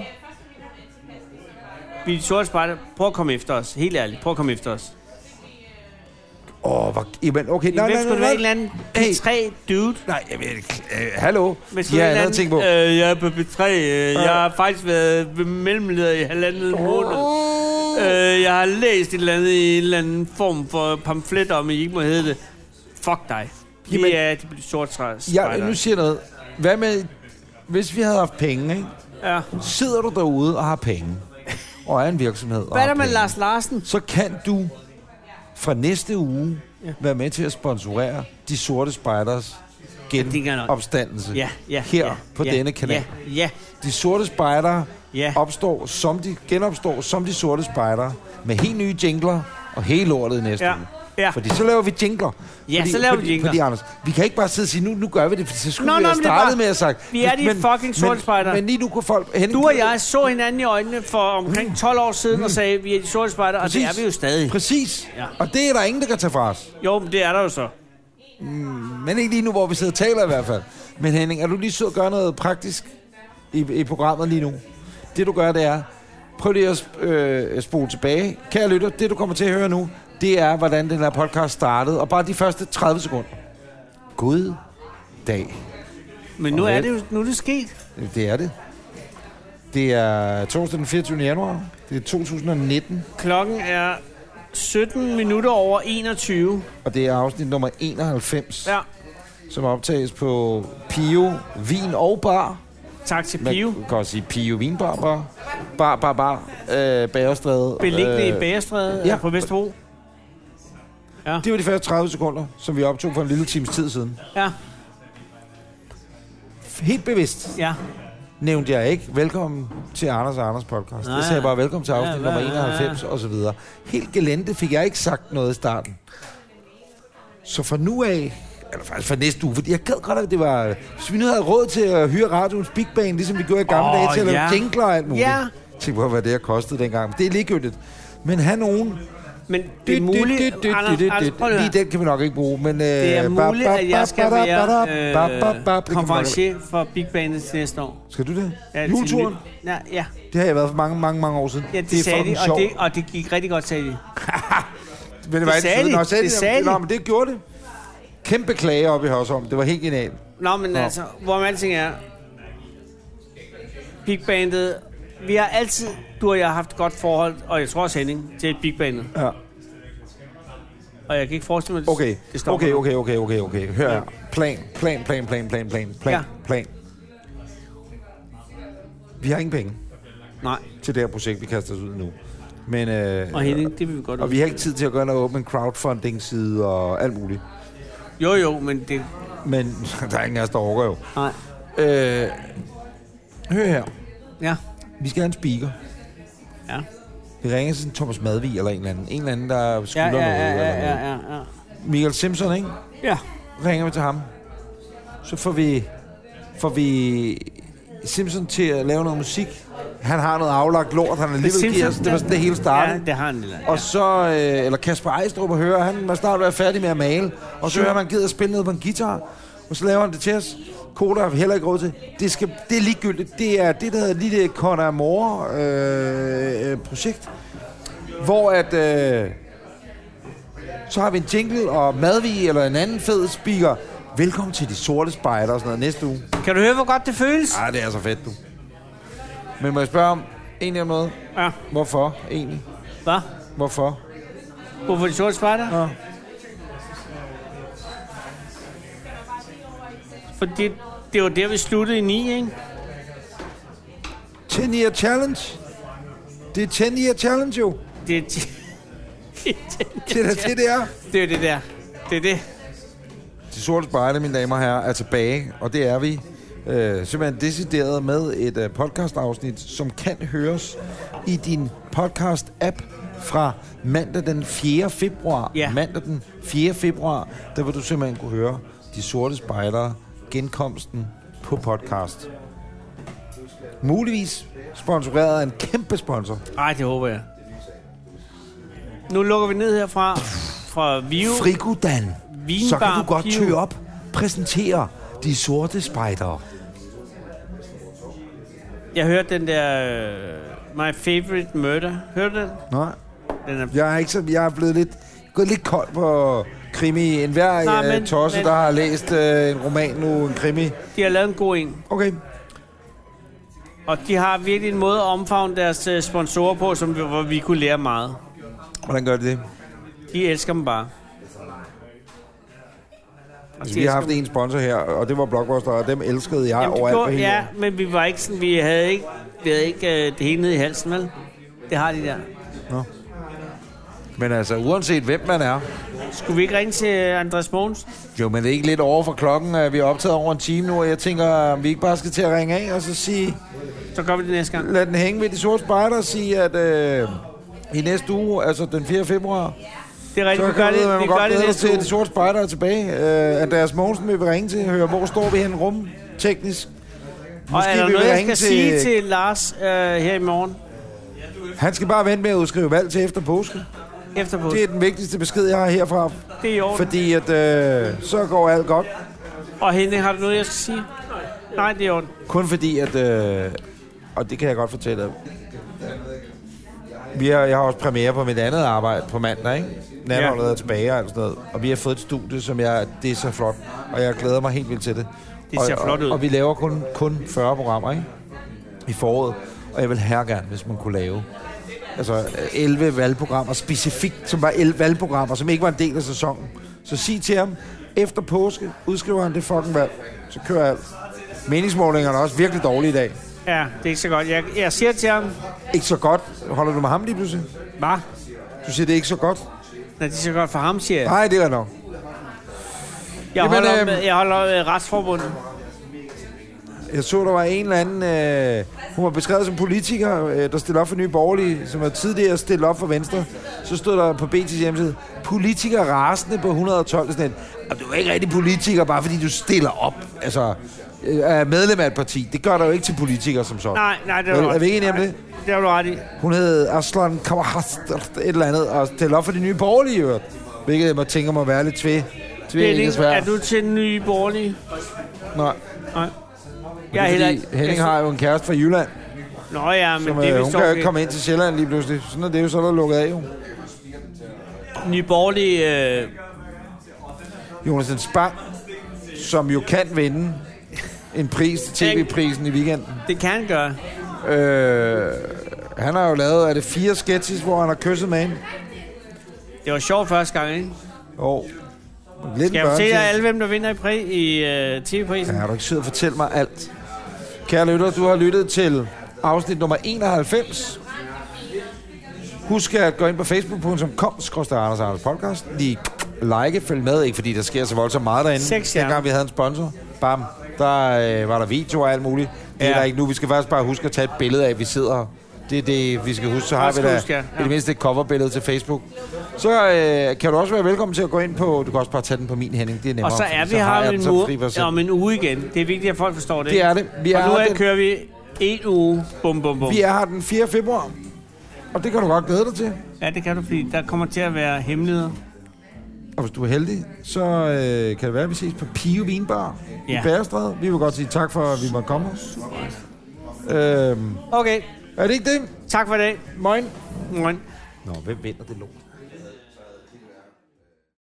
Speaker 2: Vi er de sorte spejder. Prøv at komme efter os. Helt ærligt. Prøv at komme efter os.
Speaker 1: Åh, oh, hvor... Jamen, okay, nej,
Speaker 2: Hvem
Speaker 1: nej,
Speaker 2: skulle
Speaker 1: nej,
Speaker 2: det
Speaker 1: nej.
Speaker 2: være en eller
Speaker 1: Hey.
Speaker 2: anden P3 dude?
Speaker 1: Nej, jeg ved ikke. Øh, hallo?
Speaker 2: Hvis du
Speaker 1: Jeg
Speaker 2: er
Speaker 1: har
Speaker 2: en
Speaker 1: andet
Speaker 2: anden,
Speaker 1: ting på.
Speaker 2: Øh, jeg er på B3. Øh, jeg har faktisk været mellemleder i halvandet måned. Øh, jeg har læst et eller andet i en eller anden form for pamflet om, at I ikke må hedde det. Fuck dig. De
Speaker 1: Jamen-
Speaker 2: er de bliver sort træs.
Speaker 1: Jeg, nu siger jeg noget. Hvad med, hvis vi havde haft penge, ikke?
Speaker 2: ja.
Speaker 1: Sidder du derude og har penge, og er en virksomhed, og
Speaker 2: Hvad er
Speaker 1: har
Speaker 2: der med
Speaker 1: penge,
Speaker 2: Lars Larsen?
Speaker 1: så kan du fra næste uge
Speaker 2: Ja.
Speaker 1: ja. være med til at sponsorere de sorte spejders
Speaker 2: det kan jeg nok.
Speaker 1: genopstandelse
Speaker 2: Ja, ja.
Speaker 1: her
Speaker 2: ja,
Speaker 1: på
Speaker 2: ja,
Speaker 1: denne kanal.
Speaker 2: Ja, ja,
Speaker 1: De sorte spejdere
Speaker 2: ja.
Speaker 1: opstår som de, genopstår som de sorte spejdere med helt nye jingler og hele lortet i næste
Speaker 2: Ja,
Speaker 1: uge.
Speaker 2: ja.
Speaker 1: Fordi så laver vi jingler.
Speaker 2: Ja,
Speaker 1: fordi,
Speaker 2: så laver vi
Speaker 1: fordi,
Speaker 2: jingler.
Speaker 1: Fordi, Anders, vi kan ikke bare sidde og sige, nu, nu gør vi det, for så skulle
Speaker 2: Nå,
Speaker 1: vi
Speaker 2: nå,
Speaker 1: have
Speaker 2: men det er
Speaker 1: startet
Speaker 2: bare-
Speaker 1: med at have sagt.
Speaker 2: vi er de fucking sorte spejdere.
Speaker 1: Men, men lige nu kunne folk... Henning,
Speaker 2: Du og jeg så hinanden i øjnene for omkring 12 år siden og sagde, vi er de sorte spejder, og det er
Speaker 1: Præcis.
Speaker 2: vi jo stadig.
Speaker 1: Præcis.
Speaker 2: Ja.
Speaker 1: Ja. Og det er der ingen, der kan tage fra os.
Speaker 2: Jo, men det er der jo så.
Speaker 1: Men ikke lige nu, hvor vi sidder og taler i hvert fald. Men Henning, er du lige sød at gøre noget praktisk i, i programmet lige nu? Det du gør, det er, prøv lige at sp- øh, spole tilbage. Kære lytter, det du kommer til at høre nu, det er, hvordan den her podcast startede. Og bare de første 30 sekunder. God dag.
Speaker 2: Men nu er
Speaker 1: Okay.
Speaker 2: det jo nu er det sket.
Speaker 1: Det er det. Det er torsdag den 24. januar. Det er 2019,
Speaker 2: Klokken er 17 minutter over 21.
Speaker 1: og det er afsnit nummer 91, ja.
Speaker 2: Ja,
Speaker 1: som optages på Pio Vin og Bar.
Speaker 2: tak til
Speaker 1: Man
Speaker 2: Pio.
Speaker 1: kan også sige Pio Vinbar, bar, bar, bar, bar øh, Bagerstræde. Øh.
Speaker 2: Beliggende i Bagerstræde ja.
Speaker 1: ja.
Speaker 2: på Vesterbro.
Speaker 1: Det var de første 30 sekunder, som vi optog for en lille times tid siden.
Speaker 2: Ja,
Speaker 1: Helt bevidst
Speaker 2: ja.
Speaker 1: nævnte jeg ikke, velkommen til Anders og Anders podcast.
Speaker 2: Nej.
Speaker 1: Nej. Det sagde jeg bare, velkommen til afsnit
Speaker 2: Ja,
Speaker 1: ja,
Speaker 2: hvad-
Speaker 1: nummer 91 og så videre. Helt gelente fik jeg ikke sagt noget i starten. Så fra nu af, eller faktisk fra næste uge, fordi jeg gad godt, at det var... Hvis vi nu havde råd til at hyre radioens Big Bang, ligesom vi gjorde i gamle
Speaker 2: Åh,
Speaker 1: oh, dage, til at lave
Speaker 2: ja.
Speaker 1: jingler og alt muligt.
Speaker 2: Ja.
Speaker 1: Tænk på, hvad det har kostet dengang. Men Det er ligegyldigt. Men have nogen,
Speaker 2: Men det er muligt,
Speaker 1: Dyt, dyt, dyt,
Speaker 2: Anders,
Speaker 1: dyt, dyt.
Speaker 2: Anders, prøv lige at
Speaker 1: Lige
Speaker 2: høre.
Speaker 1: den kan vi nok ikke bruge, men... øh,
Speaker 2: det er muligt, at jeg skal være øh,
Speaker 1: konferencier.
Speaker 2: konferencier for Big Bandet til næste år.
Speaker 1: Skal du det?
Speaker 2: Ja, til
Speaker 1: Juleturen?
Speaker 2: nyt- Ja, ja,
Speaker 1: Det har jeg været for mange, mange, mange år siden.
Speaker 2: ja det, det sagde
Speaker 1: fucking
Speaker 2: de, og det, og det gik rigtig godt, sagde de.
Speaker 1: Men det, var
Speaker 2: sagde
Speaker 1: altid-
Speaker 2: de.
Speaker 1: Nå, sagde
Speaker 2: Det
Speaker 1: de.
Speaker 2: sagde
Speaker 1: Nå,
Speaker 2: de.
Speaker 1: men det gjorde det. Kæmpe klage op i os om. Det var helt genialt.
Speaker 2: Nå, men Nå.
Speaker 1: Nå.
Speaker 2: altså, hvorom alting er, Big Bandet, vi har altid, du og jeg har haft et godt forhold, og jeg tror også Henning, til Big Bandet.
Speaker 1: Ja.
Speaker 2: Og jeg kan ikke forestille mig, at
Speaker 1: Okay,
Speaker 2: det stopper.
Speaker 1: okay, okay, okay, okay, okay. Hør her. Plan, plan, plan, plan, plan, plan, plan,
Speaker 2: Ja.
Speaker 1: plan. Vi har ingen penge
Speaker 2: Nej,
Speaker 1: til det her projekt, vi kaster os ud i nu. Men, øh,
Speaker 2: Og Henning, det vil vi godt
Speaker 1: og vi har ikke tid til at gå ind og åbne en crowdfunding-side og alt muligt.
Speaker 2: Jo, jo, men det...
Speaker 1: Men *laughs* der er ingen af os, der orker jo.
Speaker 2: Nej.
Speaker 1: Øh, hør her.
Speaker 2: Ja,
Speaker 1: Vi skal have en speaker.
Speaker 2: ja.
Speaker 1: Vi ringer til Thomas Madvig eller en eller anden. En eller anden, der
Speaker 2: Ja,
Speaker 1: skylder
Speaker 2: ja, ja,
Speaker 1: noget.
Speaker 2: ja,
Speaker 1: Eller noget.
Speaker 2: ja, ja, ja.
Speaker 1: Michael Simpson, ikke?
Speaker 2: Ja,
Speaker 1: ringer vi til ham. Så får vi, får vi Simpson til at lave noget musik. Han har noget aflagt lort, han alligevel giver os. Det var sådan, det hele startede.
Speaker 2: ja det har han lidt. af,
Speaker 1: Og så, øh, eller Kasper Ejstrup og hører, han var snart være færdig med at male. Og så hører man, gider at spille noget på en guitar. Og så laver han det til os. Koda har vi heller ikke råd til. Det, skal, det er ligegyldigt. Det er det, der hedder Lille Conor Moore øh, øh, projekt. Hvor at... Øh, så har vi en jingle og madvi eller en anden fed speaker. Velkommen til de sorte spejder og sådan noget næste uge.
Speaker 2: ja. Kan du høre, hvor godt det føles?
Speaker 1: Ej, det er så fedt, du. Men må jeg spørge om en eller anden måde?
Speaker 2: Ja.
Speaker 1: Hvorfor egentlig?
Speaker 2: Hvad?
Speaker 1: Hvorfor?
Speaker 2: Hvorfor de sorte spejder?
Speaker 1: Nå.
Speaker 2: For det, det var der, vi sluttede i 9, ikke?
Speaker 1: 10 year challenge. Det er 10 year challenge jo.
Speaker 2: Det, er *laughs* det,
Speaker 1: Det er da det, det er.
Speaker 2: det er det der. Det er det.
Speaker 1: De sorte spejle, mine damer og herrer, er tilbage, og det er vi. Øh, simpelthen decideret med et øh, podcastafsnit, som kan høres i din podcast-app fra mandag den 4. februar.
Speaker 2: Ja.
Speaker 1: Mandag den 4. februar, der vil du simpelthen kunne høre De Sorte Spejdere, genkomsten på podcast. Muligvis sponsoreret af en kæmpe sponsor.
Speaker 2: Ej, det håber jeg. Nu lukker vi ned herfra. Fra Vive.
Speaker 1: Frikudan.
Speaker 2: Vinbar
Speaker 1: Så kan du godt
Speaker 2: Pio.
Speaker 1: tø op. Præsentere de sorte spejdere.
Speaker 2: Jeg hørte den der... øh, My Favorite Murder. Hørte du den?
Speaker 1: Nej,
Speaker 2: Den er...
Speaker 1: jeg er, ikke så, jeg er blevet lidt, gået lidt kold på krimi. En hver
Speaker 2: Nej,
Speaker 1: Nej,
Speaker 2: men-
Speaker 1: men, tosse,
Speaker 2: men-
Speaker 1: der har læst øh, en roman nu, en krimi.
Speaker 2: De har lavet en god en.
Speaker 1: Okay.
Speaker 2: Og de har virkelig en måde at omfavne deres øh, sponsorer på, som vi, hvor vi kunne lære meget.
Speaker 1: Hvordan gør de det?
Speaker 2: De elsker dem bare. Og
Speaker 1: Altså,
Speaker 2: de
Speaker 1: vi har
Speaker 2: elsker
Speaker 1: haft en sponsor her, og det var Blockbuster, og dem elskede jeg
Speaker 2: Jamen, det
Speaker 1: overalt på
Speaker 2: gjorde,
Speaker 1: hele
Speaker 2: ja,
Speaker 1: jorden.
Speaker 2: men vi var ikke sådan, vi havde ikke, vi havde ikke øh, det hele nede i halsen, vel? Det har de der.
Speaker 1: Nå. Men altså, uanset hvem man er,
Speaker 2: Skulle vi ikke ringe til øh, Andreas Mogens?
Speaker 1: jo, men det er ikke lidt over for klokken, at vi er optaget over en time nu, og jeg tænker, om vi ikke bare skal til at ringe af og så sige,
Speaker 2: Så gør vi det næste gang.
Speaker 1: lad den hænge ved de sorte spejder og sige, at øh, i næste uge, altså den 4. februar,
Speaker 2: Det er rigtigt,
Speaker 1: så
Speaker 2: vi gør
Speaker 1: kan vi
Speaker 2: det,
Speaker 1: man
Speaker 2: vi
Speaker 1: godt
Speaker 2: gør det
Speaker 1: glæde sig
Speaker 2: næste
Speaker 1: til, at
Speaker 2: uge.
Speaker 1: de sorte spejder er tilbage. Øh, Andreas Mogensen vil vi ringe til, høre, hvor står vi henne rum teknisk.
Speaker 2: Og er der
Speaker 1: vi vil
Speaker 2: noget, jeg
Speaker 1: ringe
Speaker 2: skal sige til Lars øh, her i morgen?
Speaker 1: Han skal bare vente med at udskrive valg til efter påske.
Speaker 2: Efter på.
Speaker 1: Det
Speaker 2: Det,
Speaker 1: er den vigtigste besked, jeg har herfra.
Speaker 2: det er i orden.
Speaker 1: Fordi at, øh, så går alt godt.
Speaker 2: Og Henning, har du noget, jeg skal sige? Nej, det er i orden.
Speaker 1: Kun fordi at... Øh, og det kan jeg godt fortælle dig. Vi har, jeg har også premiere på mit andet arbejde på mandag, ikke? Natholdet
Speaker 2: Ja.
Speaker 1: er tilbage og alt sådan noget. Og vi har fået et studie, som jeg... Det er så flot. Og jeg glæder mig helt vildt til det.
Speaker 2: Det ser
Speaker 1: og,
Speaker 2: flot
Speaker 1: og,
Speaker 2: ud.
Speaker 1: Og vi laver kun, kun 40 programmer, ikke? I foråret. Og jeg vil her gerne, hvis man kunne lave altså øh, 11 valgprogrammer specifikt, som var 11 valgprogrammer, som ikke var en del af sæsonen. Så sig til ham, efter påske udskriver han det fucking valg, så kører alt. Meningsmålingerne er også virkelig dårlige i dag.
Speaker 2: Ja, det er ikke så godt. Jeg, jeg siger til ham,
Speaker 1: Ikke så godt. Holder du med ham lige pludselig?
Speaker 2: hvad?
Speaker 1: Du siger, det er ikke så godt.
Speaker 2: Når det er så godt for ham, siger jeg.
Speaker 1: Nej, det er nok.
Speaker 2: Jeg
Speaker 1: Ah, Jamen,
Speaker 2: holder,
Speaker 1: øhm,
Speaker 2: med, jeg holder med retsforbundet.
Speaker 1: Jeg så, der var en eller anden... Øh, hun var beskrevet som politiker, øh, der stillede op for Nye Borgerlige, som var tidligere stillet op for Venstre. Så stod der på BT's hjemmeside, politiker rasende på 112. Sådan et, "Og du er ikke rigtig politiker, bare fordi du stiller op. Altså, øh, er medlem af et parti. Det gør der jo ikke til politiker som sådan.
Speaker 2: Nej, nej, det er
Speaker 1: Vel,
Speaker 2: du
Speaker 1: er vi ikke enige om
Speaker 2: Nej,
Speaker 1: det?
Speaker 2: Det har du ret i.
Speaker 1: Hun hed Aslan Kawahast, et eller andet, og stillede op for de nye borgerlige, i øvrigt. hvilket jeg tænker må være lidt tvæ. Tvæ,
Speaker 2: Henning,
Speaker 1: desværre.
Speaker 2: er du til den nye borgerlige?
Speaker 1: Nej,
Speaker 2: Nej.
Speaker 1: det
Speaker 2: Jeg
Speaker 1: er
Speaker 2: er heller
Speaker 1: fordi
Speaker 2: ikke.
Speaker 1: Henning har jo en kæreste fra Jylland,
Speaker 2: Nå ja, men
Speaker 1: som,
Speaker 2: det er
Speaker 1: øh, hun
Speaker 2: vist
Speaker 1: kan jo ikke
Speaker 2: okay.
Speaker 1: komme ind til Sjælland lige pludselig. Sådan er det jo så, er der lukket af jo.
Speaker 2: Nye borgerlige... Øh,
Speaker 1: Jonas Spang, som jo kan vinde en pris til tv-prisen i weekenden.
Speaker 2: det kan han gøre.
Speaker 1: Øh, han har jo lavet, er det fire sketches, hvor han har kysset med hende?
Speaker 2: Det var sjovt første gang, ikke?
Speaker 1: Jo. Lidt
Speaker 2: Skal
Speaker 1: en
Speaker 2: jeg fortælle jer
Speaker 1: børneting.
Speaker 2: alle, hvem der vinder i, pri- i øh, TV-prisen?
Speaker 1: Ja, er du ikke sød at fortælle mig alt? Kære lytter, du har lyttet til afsnit nummer 91 Husk at gå ind på facebook.com, skrøster Anders og Anders podcast. Lige like, følg med, ikke fordi der sker så voldsomt meget derinde.
Speaker 2: Seks stjerner.
Speaker 1: Dengang vi havde en sponsor, bam, der øh, var der videoer og alt muligt. Det er
Speaker 2: Ja.
Speaker 1: der ikke nu. Vi skal faktisk bare huske at tage et billede af, at vi sidder her. Det er det, vi skal huske. Så har
Speaker 2: Også
Speaker 1: vi da
Speaker 2: huske, ja.
Speaker 1: i det mindste et coverbillede til Facebook. Så øh, kan du også være velkommen til at gå ind på... Du kan også bare tage den på min, Henning. Det er nemmere.
Speaker 2: Og så
Speaker 1: fordi
Speaker 2: er vi her om
Speaker 1: jeg den
Speaker 2: en,
Speaker 1: som
Speaker 2: uge,
Speaker 1: fri for selv.
Speaker 2: om en uge igen. Det er vigtigt, at folk forstår det.
Speaker 1: Det er det. Vi
Speaker 2: og
Speaker 1: er,
Speaker 2: nu er,
Speaker 1: den,
Speaker 2: kører vi en uge. Bum, bum, bum.
Speaker 1: vi er her den 4. februar. Og det kan du godt glæde dig til.
Speaker 2: Ja, det kan du, fordi der kommer til at være hemmeligheder.
Speaker 1: Og hvis du er heldig, så øh, kan det være, at vi ses på Pio Vinbar ja.
Speaker 2: Ja.
Speaker 1: i Bærestræde. Vi vil godt sige tak for, at vi måtte komme. Øhm,
Speaker 2: Okay,
Speaker 1: er det ikke det?
Speaker 2: tak for i dag.
Speaker 1: Moin.
Speaker 2: Morgen.
Speaker 1: Nå, hvem vinder det lort?